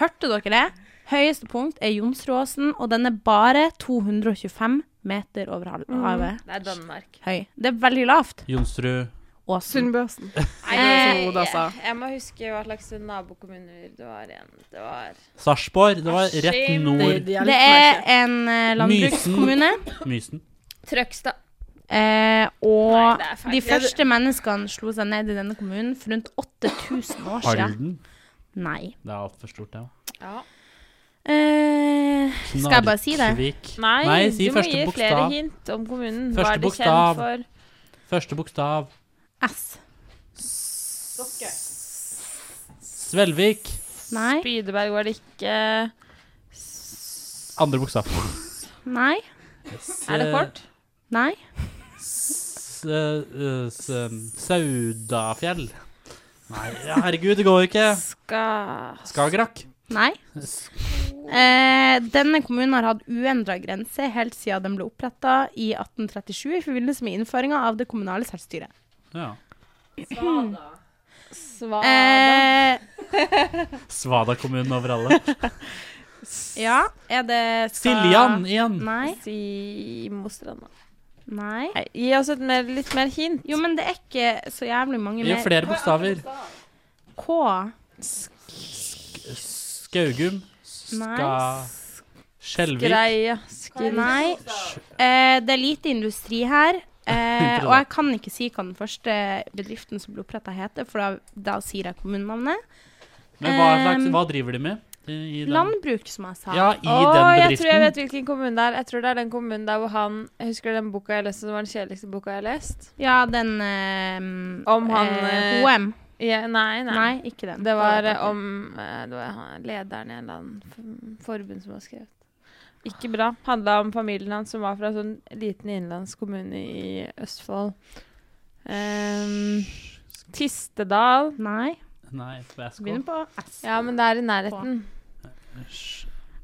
Speaker 7: Hørte dere det? Høyeste punkt er Jonsrudåsen, og den er bare 225 meter over hal- havet
Speaker 2: Det er Danmark.
Speaker 7: høy. Det er veldig lavt.
Speaker 4: Jonsrud.
Speaker 7: Åsen.
Speaker 6: Sundbøsen.
Speaker 7: Eh,
Speaker 6: Som Oda sa.
Speaker 2: Jeg, jeg må huske hva slags nabokommuner det var igjen. Det var
Speaker 4: Sarpsborg. Det var rett
Speaker 2: Askim.
Speaker 4: nord
Speaker 7: Det er en eh, landbrukskommune.
Speaker 4: Mysen.
Speaker 2: Trøgstad.
Speaker 7: Eh, og
Speaker 2: Nei, det er feil.
Speaker 7: de første menneskene slo seg ned i denne kommunen for rundt 8000 år siden.
Speaker 4: Halden.
Speaker 7: Nei.
Speaker 4: Det er altfor stort, det. Ja.
Speaker 2: Ja.
Speaker 7: Eh, skal jeg bare si det?
Speaker 4: Knarkvik.
Speaker 2: Nei,
Speaker 4: Nei, si
Speaker 2: du må
Speaker 4: første
Speaker 2: gi flere
Speaker 4: bokstav.
Speaker 2: hint om kommunen.
Speaker 4: Første
Speaker 2: hva er de
Speaker 4: bokstav.
Speaker 2: kjent for?
Speaker 4: Første bokstav.
Speaker 7: S.
Speaker 4: Svelvik.
Speaker 7: Nei.
Speaker 2: Spydeberg var det ikke.
Speaker 4: Andre bokstav.
Speaker 7: Nei.
Speaker 2: Er det kort?
Speaker 7: Nei.
Speaker 4: S- eh, s- em, Saudafjell. Nei, herregud, det går jo ikke.
Speaker 6: Ah,
Speaker 2: Skal
Speaker 4: Skagerrak.
Speaker 7: Nei.
Speaker 4: S-
Speaker 7: Eh, denne kommunen har hatt uendra grense helt siden den ble oppretta i 1837 i forbindelse med innføringa av det kommunale selvstyret.
Speaker 4: Ja.
Speaker 2: Svada.
Speaker 7: Eh,
Speaker 4: Svada-kommunen over alle.
Speaker 7: ja, er det skal-
Speaker 4: Siljan igjen.
Speaker 7: Nei.
Speaker 2: Si Mostranda.
Speaker 7: Nei.
Speaker 2: Nei, Gi oss et mer, litt mer hint.
Speaker 7: Jo, men det er ikke så jævlig mange
Speaker 4: Gi
Speaker 7: mer.
Speaker 4: flere bokstaver.
Speaker 7: K.
Speaker 4: Skaugum. Ska...
Speaker 7: Nei.
Speaker 4: Skjelvik.
Speaker 2: Greia.
Speaker 7: Nei. Eh, det er lite industri her. Eh, og jeg kan ikke si hva den første bedriften som ble oppretta, heter, for da, da sier jeg kommunenavnet.
Speaker 4: Men hva, slags,
Speaker 7: Ehm,
Speaker 4: hva driver de med? I, i den?
Speaker 7: Landbruk, som jeg sa.
Speaker 4: Ja, i
Speaker 2: Å,
Speaker 4: den
Speaker 2: jeg tror jeg vet
Speaker 4: bedriften.
Speaker 2: hvilken kommune det er. Jeg tror det er den kommunen der hvor han jeg Husker du den boka jeg leste som var den kjedeligste boka jeg har lest?
Speaker 7: Ja, den eh,
Speaker 2: Om han,
Speaker 7: eh,
Speaker 2: eh,
Speaker 7: HM.
Speaker 2: Ja, nei,
Speaker 7: Nei.
Speaker 2: nei.
Speaker 7: ikke den.
Speaker 2: Det var
Speaker 7: Hva
Speaker 2: eh, om eh, Det var han- lederen i en eller annen f- forbund som har skrevet. Ikke bra. Handla om familien hans som var fra en sånn liten innlandskommune i Østfold. Ehm, Tistedal.
Speaker 7: Nei.
Speaker 4: Nei, for SK.
Speaker 7: Begynner på S.
Speaker 2: Ja, men det er i nærheten.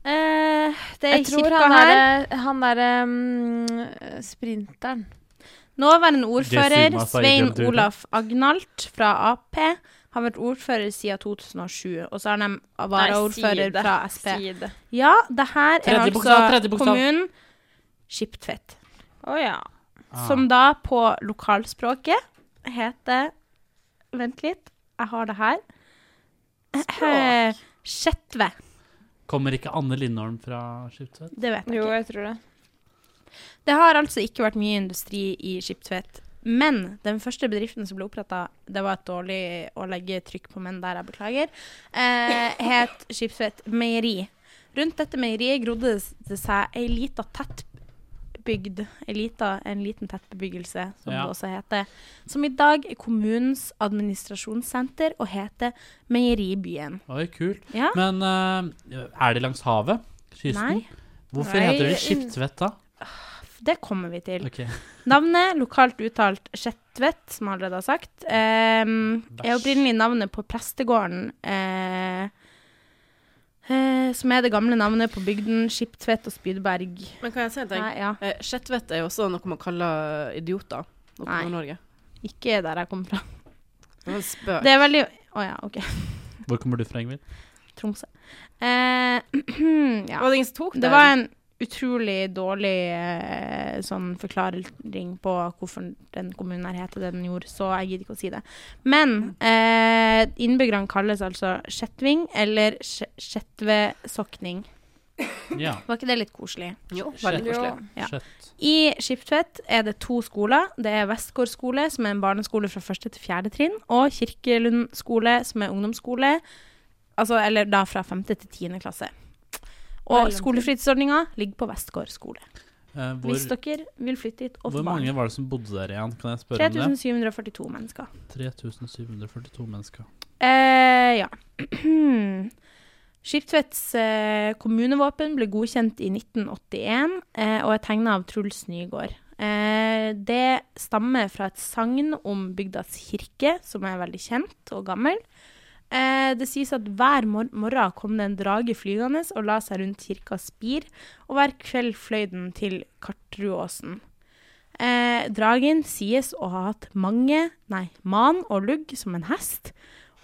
Speaker 7: Eh, det er
Speaker 2: Jeg tror
Speaker 7: kirka
Speaker 2: han
Speaker 7: her.
Speaker 2: derre Han derre mm, sprinteren.
Speaker 7: Nåværende ordfører
Speaker 4: Jessima sa i
Speaker 7: Svein
Speaker 4: den turen.
Speaker 7: Olaf Agnalt fra Ap har vært ordfører siden 2007, og så har de
Speaker 2: Nei, si
Speaker 7: varaordfører
Speaker 2: det.
Speaker 7: fra Sp.
Speaker 2: Si det.
Speaker 7: Ja, det her er
Speaker 4: Tredje
Speaker 7: altså
Speaker 4: bokstav, tredje bokstav.
Speaker 7: kommunen Skiptvet,
Speaker 2: Å ja.
Speaker 4: Ah.
Speaker 7: som da på lokalspråket heter Vent litt, jeg har det her. Eh, Skjetve.
Speaker 4: Kommer ikke Anne Lindholm fra Skiptvet?
Speaker 7: Det vet jeg
Speaker 2: Jo,
Speaker 7: ikke.
Speaker 2: jeg tror det.
Speaker 7: Det har altså ikke vært mye industri i Skiptvet Men den første bedriften som ble oppretta, det var et dårlig å legge trykk på menn der, jeg beklager, eh, het Skipsvett Meieri. Rundt dette meieriet grodde det seg ei lita tettbygd, ei lita, en liten tettbebyggelse, som
Speaker 4: Ja.
Speaker 7: det også heter, som i dag er kommunens administrasjonssenter og heter Meieribyen.
Speaker 4: Oi, kult.
Speaker 7: Ja.
Speaker 4: Men eh, er det langs havet? Kysten?
Speaker 7: Nei.
Speaker 4: Hvorfor
Speaker 7: Nei,
Speaker 4: heter det
Speaker 7: in-
Speaker 4: Skiptvet da?
Speaker 7: Det kommer vi til.
Speaker 4: Ok.
Speaker 7: Navnet, lokalt uttalt Skjetvet, som jeg allerede har sagt, eh, er opprinnelig navnet på prestegården, eh, eh, som er det gamle navnet på bygden Skiptvet og Spydberg.
Speaker 6: Men kan jeg si en ting?
Speaker 7: Nei, ja.
Speaker 6: Eh, Skjetvet er jo også noe man kaller idioter oppe
Speaker 7: Nei.
Speaker 6: i Norge.
Speaker 7: Ikke der jeg kommer fra.
Speaker 6: Det var en spøk.
Speaker 7: Det er veldig Å ja, OK.
Speaker 4: Hvor kommer du fra, Ingvild?
Speaker 7: Tromsø. Eh, ja.
Speaker 6: Var det ingen som tok
Speaker 7: Det
Speaker 6: den?
Speaker 7: var en utrolig dårlig eh, sånn forklaring på hvorfor den kommunen her heter det den gjorde, så jeg gidder ikke å si det. Men eh, innbyggerne kalles altså Skjetving eller Skje- Skjetvesokning.
Speaker 4: Ja.
Speaker 7: Var ikke det litt koselig?
Speaker 6: Jo, veldig
Speaker 4: Skjett.
Speaker 6: koselig.
Speaker 7: Ja.
Speaker 4: Skjett.
Speaker 7: I Skiptvet er det to skoler. Det er Vestgård skole, som er en barneskole fra første til fjerde trinn, og Kirkelund skole, som er ungdomsskole, altså, eller da fra femte til tiende klasse. Og skolefritidsordninga ligger på Vestgård skole.
Speaker 4: Eh,
Speaker 7: Hvis
Speaker 4: hvor,
Speaker 7: dere vil flytte hit og få
Speaker 4: hvor
Speaker 7: barn.
Speaker 4: mange var det som bodde der igjen? Kan jeg spørre om det?
Speaker 7: 3742 mennesker.
Speaker 4: 3742 mennesker.
Speaker 7: Eh, ja. Skiptvedts eh, kommunevåpen ble godkjent i 1981 eh, og er tegna av Truls Nygaard. Eh, det stammer fra et sagn om bygdas kirke, som er veldig kjent og gammel. Eh, det sies at hver mor morgen kom det en drage flygende og la seg rundt kirkas spir, og hver kveld fløy den til Kartruåsen. Eh, dragen sies å ha hatt mange, nei, man og lugg som en hest,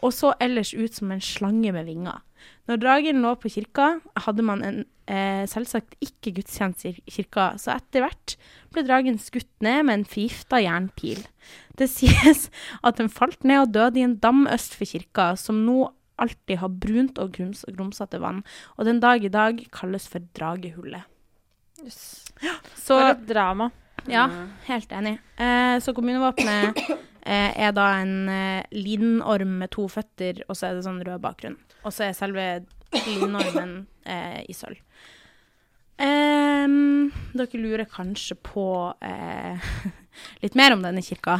Speaker 7: og så ellers ut som en slange med vinger. Når dragen lå på kirka, hadde man en, eh, selvsagt ikke gudstjeneste i kirka, så etter hvert ble dragen skutt ned med en forgifta jernpil. Det sies at den falt ned og døde i en dam øst for kirka, som nå alltid har brunt og grums grumsete vann, og den dag i dag kalles for dragehullet.
Speaker 5: For
Speaker 7: Så
Speaker 5: et drama.
Speaker 7: ja, helt enig. Eh, så kommunevåpenet eh, er da en eh, linorm med to føtter, og så er det sånn rød bakgrunn. Og så er selve linormen eh, i sølv. Ehm, dere lurer kanskje på eh, litt mer om denne kirka.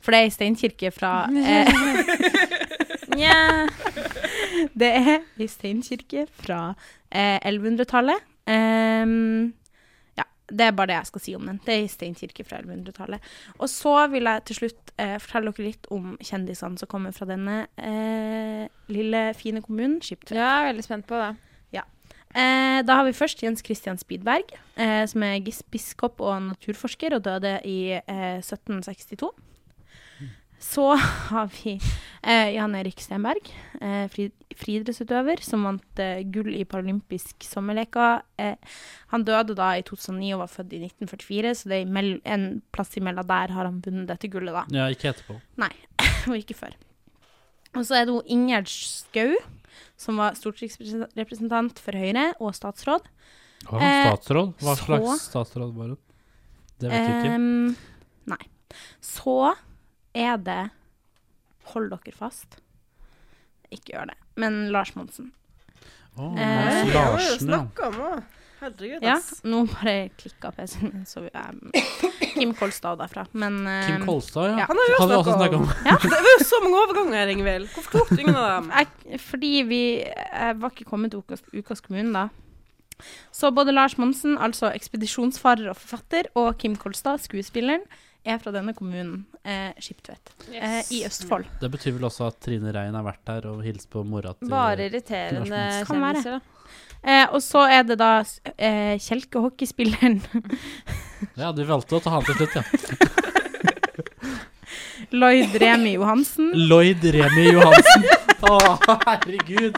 Speaker 7: For det er ei steinkirke fra eh, Nja Det er ei steinkirke fra eh, 1100-tallet. Ehm, ja, det er bare det jeg skal si om den. Det er ei steinkirke fra 1100-tallet. Og så vil jeg til slutt eh, fortelle dere litt om kjendisene som kommer fra denne eh, lille, fine kommunen, Skiptvet.
Speaker 5: Ja, jeg er veldig spent på det.
Speaker 7: Eh, da har vi først Jens Christian Spidberg, eh, som er gis- biskop og naturforsker og døde i eh, 1762. Så har vi eh, Jan Erik Stenberg, eh, fri- friidrettsutøver, som vant eh, gull i paralympisk sommerleker. Eh, han døde da i 2009 og var født i 1944, så det er imell- en plass imellom der har han vunnet dette gullet, da.
Speaker 4: Ja, ikke etterpå.
Speaker 7: Nei, og ikke før. Og så er det hun Ingjerd Schou, som var stortingsrepresentant for Høyre og statsråd.
Speaker 4: Var han
Speaker 7: Eh,
Speaker 4: statsråd? Hva
Speaker 7: så-
Speaker 4: slags statsråd var hun? Det vet jeg ikke.
Speaker 7: Ehm, nei. Så er det Hold dere fast. Ikke gjør det. Men Lars Monsen.
Speaker 4: Å,
Speaker 7: eh,
Speaker 4: Mons
Speaker 6: Det har vi jo
Speaker 4: Larsen, ja.
Speaker 6: snakket om også. Herregud,
Speaker 7: Ja,
Speaker 6: ass.
Speaker 7: nå bare klikka PC-en min, så vi er Kim Kolstad derfra. Men
Speaker 4: Kim
Speaker 7: ehm,
Speaker 4: Kolstad,
Speaker 7: ja.
Speaker 4: ja.
Speaker 6: Han har vi også
Speaker 4: Hadde også snakket
Speaker 6: snakket om.
Speaker 4: om.
Speaker 6: Det var jo så mange overganger, Ingvild. Hvorfor tok du ingen av dem?
Speaker 7: jeg, fordi vi jeg var ikke kommet til ukas, ukas kommune da. Så både Lars Monsen, altså ekspedisjonsfarer og forfatter, og Kim Kolstad, skuespilleren, er fra denne kommunen, eh, Skiptvet, eh, i Østfold.
Speaker 4: Det betyr vel også at Trine Rein har vært der og hilst på mora til
Speaker 5: Bare irriterende
Speaker 4: Lars
Speaker 7: Monsen. Kan være.
Speaker 5: kjendiser, da.
Speaker 7: Eh, og så er det da s- eh, kjelkehockeyspilleren
Speaker 4: Ja, du valgte å ta han til slutt, ja.
Speaker 7: Lloyd Remi Johansen,
Speaker 4: Lloyd Remi Johansen. Å, herregud.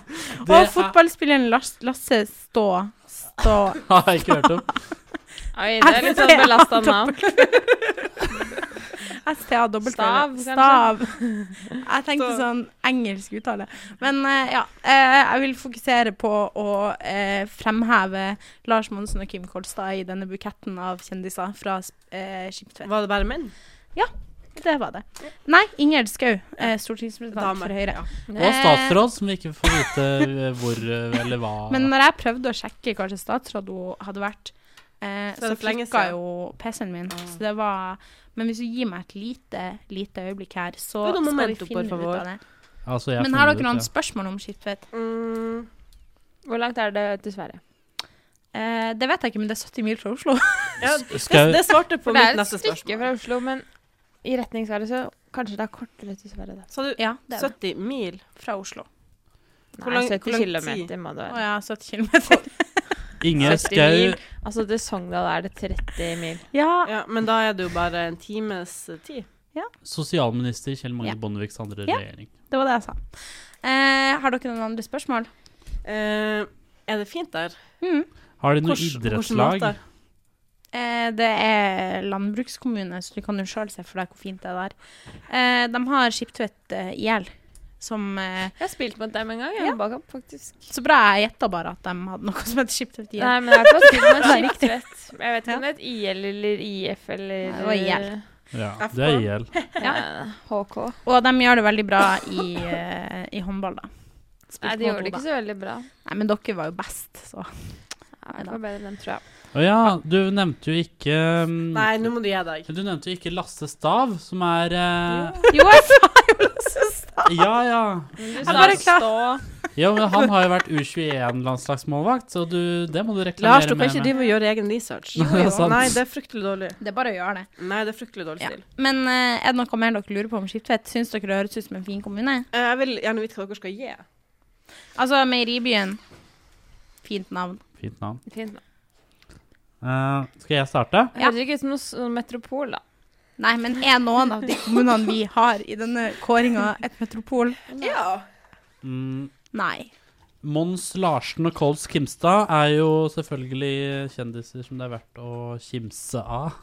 Speaker 4: Det
Speaker 7: og fotballspilleren Lars, Lasse Stå. Stå.
Speaker 4: er- har jeg ikke hørt om.
Speaker 5: Oi, det er litt sånn belasta navn.
Speaker 7: STA dobbelt
Speaker 5: Stav,
Speaker 7: Stav,
Speaker 5: kanskje?
Speaker 7: Stav. Jeg tenkte sånn engelsk uttale. Men eh, ja, eh, jeg vil fokusere på å eh, fremheve Lars Monsen og Kim Kolstad i denne buketten av kjendiser fra uh, Skiptvet.
Speaker 6: Var det bare menn?
Speaker 7: Ja, det var det. Nei, Ingjerd Schou, eh, stortingsrepresentant
Speaker 6: Dame,
Speaker 7: for Høyre.
Speaker 4: Og statsråd, som vi ikke får vite eh, hvor eh, eller hva
Speaker 7: Men når jeg prøvde å sjekke hva slags statsråd hun hadde vært, eh,
Speaker 6: Så er
Speaker 7: så
Speaker 6: det for lenge
Speaker 7: klikka
Speaker 6: siden. Ah.
Speaker 7: jo PC-en min. Så det var Men hvis du gir meg et lite, lite øyeblikk her, så
Speaker 6: Jo, da,
Speaker 7: skal vi
Speaker 6: momento, por
Speaker 7: finne ut
Speaker 6: favor.
Speaker 7: av det.
Speaker 4: altså, jeg
Speaker 7: Men
Speaker 4: har
Speaker 7: har
Speaker 4: funnet
Speaker 7: dere noen
Speaker 4: ut,
Speaker 7: spørsmål om Skiptvet?
Speaker 6: Mm,
Speaker 5: Hvor langt er det til Sverige?
Speaker 7: Eh, det vet jeg ikke, men det er 70 mil fra Oslo.
Speaker 6: ja,
Speaker 4: ja. Skau-
Speaker 6: det, det svarte på
Speaker 5: For det
Speaker 6: mitt
Speaker 5: er et
Speaker 6: neste
Speaker 5: stykke
Speaker 6: spørsmål.
Speaker 5: fra Oslo, men i retning Sverige, så kanskje det er kortere til Sverige, da.
Speaker 6: Sa du
Speaker 7: ja, det er det.
Speaker 6: 70 mil?
Speaker 7: Fra Oslo.
Speaker 6: Hvor
Speaker 5: Nei,
Speaker 6: lang- hvor
Speaker 5: 70
Speaker 6: lang
Speaker 5: kilometer må det
Speaker 7: Å
Speaker 5: være.
Speaker 7: ja, 70 kilometer.
Speaker 4: Ingjerd
Speaker 5: 70
Speaker 4: Schou
Speaker 5: mil. Altså til Sogndal er det 30 mil.
Speaker 7: Ja,
Speaker 6: Ja, men da er det jo bare en times eh, tid.
Speaker 4: Sosialminister Kjell Magne
Speaker 7: Ja.
Speaker 4: Bondeviks andre
Speaker 7: Ja.
Speaker 4: regjering.
Speaker 7: det var det jeg sa. Eh, har dere noen andre spørsmål?
Speaker 6: Eh, er det fint der?
Speaker 7: Mm.
Speaker 4: Har de noe
Speaker 6: Hvordan- hvordan mat
Speaker 4: idrettslag?
Speaker 6: der?
Speaker 7: Eh, det er landbrukskommune, så du kan jo sjøl se for deg hvor fint det er der. Eh, de har Skiptvet eh, IL, som eh,
Speaker 5: Jeg har spilt mot dem en gang,
Speaker 7: Ja.
Speaker 5: jeg. Ja. Bakom, faktisk.
Speaker 7: Så bra jeg gjetta bare at de hadde noe som heter Skiptvet IL.
Speaker 5: Nei, men jeg har ikke spilt mot
Speaker 7: Det er
Speaker 5: Skiptvet. Jeg vet ikke om det er et IL eller IF eller eh,
Speaker 7: Nei, det var IL.
Speaker 4: Ja, det er IL.
Speaker 5: Ja. HK.
Speaker 7: Og de gjør det veldig bra i, eh, i håndball, da.
Speaker 5: Nei, de gjorde det ikke så veldig bra.
Speaker 7: Nei, men dere var jo best, så
Speaker 5: Ja, det var bedre enn dem, tror jeg.
Speaker 4: Å ja, du nevnte jo ikke mm,
Speaker 6: Nei, nå må du gi deg.
Speaker 4: Du nevnte jo ikke Lasse Stav, som er eh,
Speaker 7: Jo, jeg sa jo Lasse Stad!
Speaker 4: Ja, ja.
Speaker 5: Men du
Speaker 7: Jeg
Speaker 5: sa
Speaker 7: bare klar-
Speaker 5: stå.
Speaker 4: ja men han har jo vært U21-landslagsmålvakt, så du, det må du
Speaker 6: Lars,
Speaker 4: reklamere
Speaker 6: du kan
Speaker 4: mer
Speaker 6: ikke
Speaker 4: med.
Speaker 6: drive og gjøre egen research.
Speaker 4: Jo, jo. Sant.
Speaker 6: Nei, det er fryktelig dårlig.
Speaker 7: Det er bare å gjøre det.
Speaker 6: Nei, det er fryktelig dårlig
Speaker 7: Ja.
Speaker 6: stil.
Speaker 7: Men eh, er det noe mer dere lurer på om Skiptvet? Syns dere det høres ut som en fin kommune?
Speaker 6: Eh, Jeg vil gjerne vite hva dere skal gi.
Speaker 7: Altså, Meieribyen. Fint navn.
Speaker 4: Fint navn.
Speaker 5: Fint. da.
Speaker 4: Eh, skal jeg starte?
Speaker 5: Det Høres ikke ut som noe sånn metropol, da.
Speaker 7: Nei, men er noen av de kommunene vi har i denne kåringa et metropol?
Speaker 6: Ja.
Speaker 4: Mm,
Speaker 7: Nei.
Speaker 4: Mons Larsen og Kols Kimstad er jo selvfølgelig kjendiser som det er verdt å kimse av.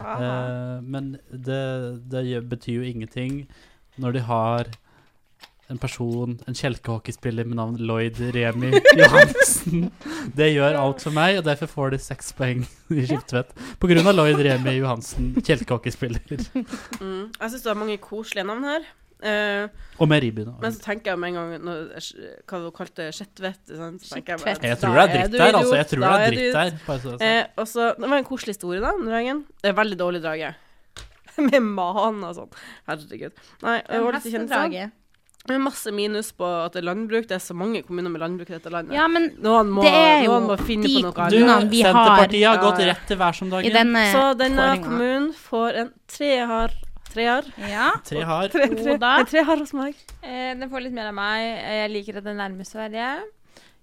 Speaker 4: Eh, men det, det gjør- betyr jo ingenting når de har en person, en kjelkehockeyspiller med navn Lloyd Remi Johansen. Det gjør alt for meg, og derfor får de seks poeng i Skiftvedt. På grunn av Lloyd Remi Johansen, kjelkehockeyspiller.
Speaker 6: Mm. Jeg syns du har mange koselige navn her. Eh,
Speaker 4: Og Meribyen.
Speaker 6: men så tenker jeg med en gang når, hva du kalte Skjetvet. sant? Så tenker jeg bare,
Speaker 4: Jeg
Speaker 6: da
Speaker 4: tror det er dritt
Speaker 6: du
Speaker 4: der, altså. Jeg
Speaker 6: idiot,
Speaker 4: tror
Speaker 6: da
Speaker 4: det er
Speaker 6: du
Speaker 4: dritt
Speaker 6: idiot.
Speaker 4: der. bare så det er sagt.
Speaker 6: Eh, og så, det var en koselig historie, da, om dragen. Det er veldig dårlig drage. Med man og sånn. Herregud. Nei, jeg var litt kjent
Speaker 7: Hestedraget.
Speaker 6: Med masse minus på at det er landbruk. Det er så mange kommuner med landbruk i dette landet.
Speaker 7: Ja, men
Speaker 6: Noen må,
Speaker 7: Det er jo
Speaker 6: noen må finne
Speaker 7: de
Speaker 6: på noe
Speaker 4: Du,
Speaker 6: annet.
Speaker 7: kommunene vi har.
Speaker 4: Senterpartiet har
Speaker 6: Ja,
Speaker 4: gått
Speaker 6: ja.
Speaker 4: rett til hver som
Speaker 7: i
Speaker 4: dagen.
Speaker 7: denne
Speaker 6: Så denne
Speaker 7: kåringa.
Speaker 6: kommunen får en treer. Treer.
Speaker 7: Ja.
Speaker 4: Tre har.
Speaker 6: Tre, tre,
Speaker 7: Og da-
Speaker 6: en treer hos meg.
Speaker 5: Eh, den får litt mer av meg. Eh, Jeg liker at den nærmer Sverige.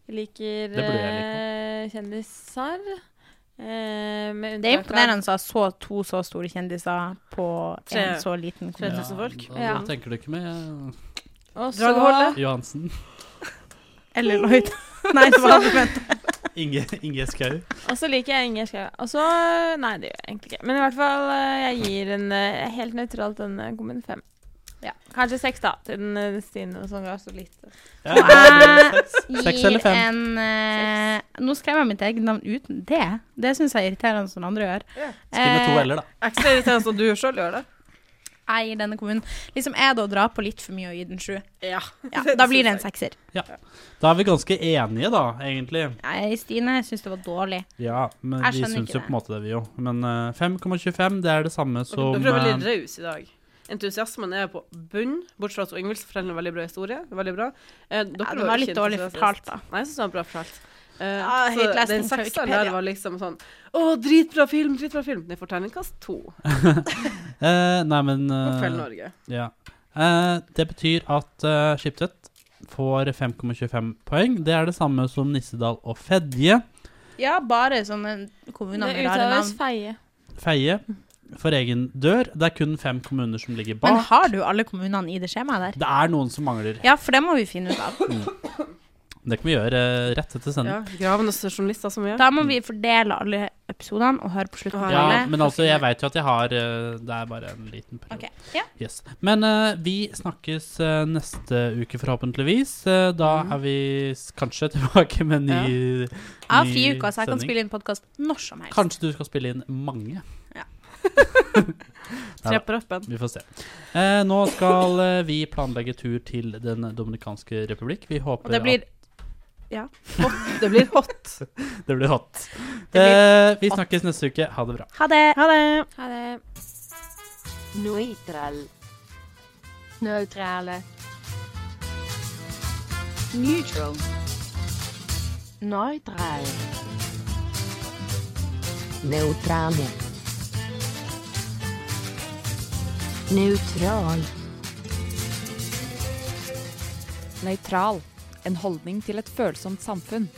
Speaker 5: Jeg liker
Speaker 4: Det burde jeg
Speaker 5: eh, kjendiser. Eh, med
Speaker 7: Det er
Speaker 5: unntak av
Speaker 7: imponerende å ha så to så store kjendiser på en
Speaker 6: Tre.
Speaker 7: så liten kommune.
Speaker 6: 3000 folk.
Speaker 4: Da, da
Speaker 5: Ja.
Speaker 4: tenker du ikke med eh,
Speaker 5: Og så
Speaker 6: Drageholdet.
Speaker 4: Johansen.
Speaker 7: Eller Lloyd. Nei, det var argument.
Speaker 4: Inge, Inge Skau.
Speaker 5: Og så liker jeg Inger Skau. Og så Nei, det gjør jeg egentlig ikke. Men i hvert fall, eh, jeg gir en eh, helt nøytralt en eh, kommune fem. Ja. Kanskje seks, da. Til den eh, Stine som ga så lite.
Speaker 4: Ja,
Speaker 7: Og jeg
Speaker 4: Seks eller
Speaker 7: gir
Speaker 4: fem?
Speaker 7: en eh, Nå skrev jeg mitt eget navn uten det. Det syns jeg er irriterende som andre gjør.
Speaker 4: Skriv med to
Speaker 7: Eh,
Speaker 4: l-er, da.
Speaker 6: Ekstra irriterende som du sjøl gjør det.
Speaker 7: Jeg gir denne kommunen Liksom er det å dra på litt for mye og gi den sju.
Speaker 6: Ja.
Speaker 7: Ja, da blir det en sekser.
Speaker 4: Da er vi ganske enige, da, egentlig.
Speaker 7: Nei, Stine, jeg syns det var dårlig.
Speaker 4: Ja, men
Speaker 7: Jeg
Speaker 4: vi
Speaker 7: skjønner
Speaker 4: syns
Speaker 7: ikke
Speaker 4: jo på
Speaker 7: det.
Speaker 4: en måte det, vi jo. Men eh, 5,25, det er det samme som
Speaker 6: Dere prøver
Speaker 4: eh,
Speaker 6: litt raus i dag. Entusiasmen er på bunn, bortsett fra at Ingvild forteller en veldig bra historie. Det er Veldig bra. Eh, dere
Speaker 7: Ja,
Speaker 6: jo
Speaker 7: den var
Speaker 6: ikke
Speaker 7: litt dårlig
Speaker 6: entusiastisk.
Speaker 7: fortalt, da.
Speaker 6: Nei, jeg syns det var bra fortalt. Eh,
Speaker 7: Ja,
Speaker 6: så
Speaker 7: høytlesning
Speaker 6: den
Speaker 7: fra
Speaker 6: sekseren
Speaker 7: Wikipedia.
Speaker 6: der var liksom sånn Å, dritbra film, dritbra film! Den får terningkast to.
Speaker 4: eh, Nei, men eh,
Speaker 6: Kveld Norge.
Speaker 4: ja. Eh, Det betyr at uh, Skiptvet får 5,25 poeng. Det er det samme som Nissedal og Fedje.
Speaker 7: Ja, bare sånne kommuner
Speaker 5: Det
Speaker 7: med rare
Speaker 5: uttales
Speaker 7: navn.
Speaker 5: feie.
Speaker 4: Feie for egen dør. Det er kun fem kommuner som ligger
Speaker 7: Men
Speaker 4: bak.
Speaker 7: har du alle kommunene i det skjemaet der?
Speaker 4: Det er noen som mangler.
Speaker 7: Ja, for det må vi finne ut av.
Speaker 4: Det kan vi gjøre eh, rett etter sending.
Speaker 6: Ja, Gravende journalister som vi er.
Speaker 7: Da må vi fordele alle episodene og høre på slutten av
Speaker 4: Ja,
Speaker 7: alle.
Speaker 4: men altså, jeg veit jo at jeg har eh, Det er bare en liten periode.
Speaker 7: Ok, ja.
Speaker 4: Yes. Men eh, vi snakkes eh, neste uke, forhåpentligvis. Eh, da er vi s- kanskje tilbake med en ny,
Speaker 7: Jeg har
Speaker 4: ny
Speaker 7: fri uke, så jeg kan
Speaker 4: sending.
Speaker 7: spille inn podkast når som helst.
Speaker 4: Kanskje du skal spille inn mange.
Speaker 7: Tre på rappen.
Speaker 4: Vi får se. Eh, nå skal eh, vi planlegge tur til Den dominikanske republikk. Vi håper
Speaker 11: Og det blir
Speaker 7: Ja. Hot. Det blir hot.
Speaker 4: at det blir hot. eh, vi snakkes neste uke. Ha det bra.
Speaker 11: Ha det!
Speaker 7: Ha det.
Speaker 11: Ha det.
Speaker 12: Neutral.
Speaker 13: Neutrale.
Speaker 12: Neutral. Neutral. Neutrale. Neutral.
Speaker 5: Nøytral. En holdning til et følsomt samfunn.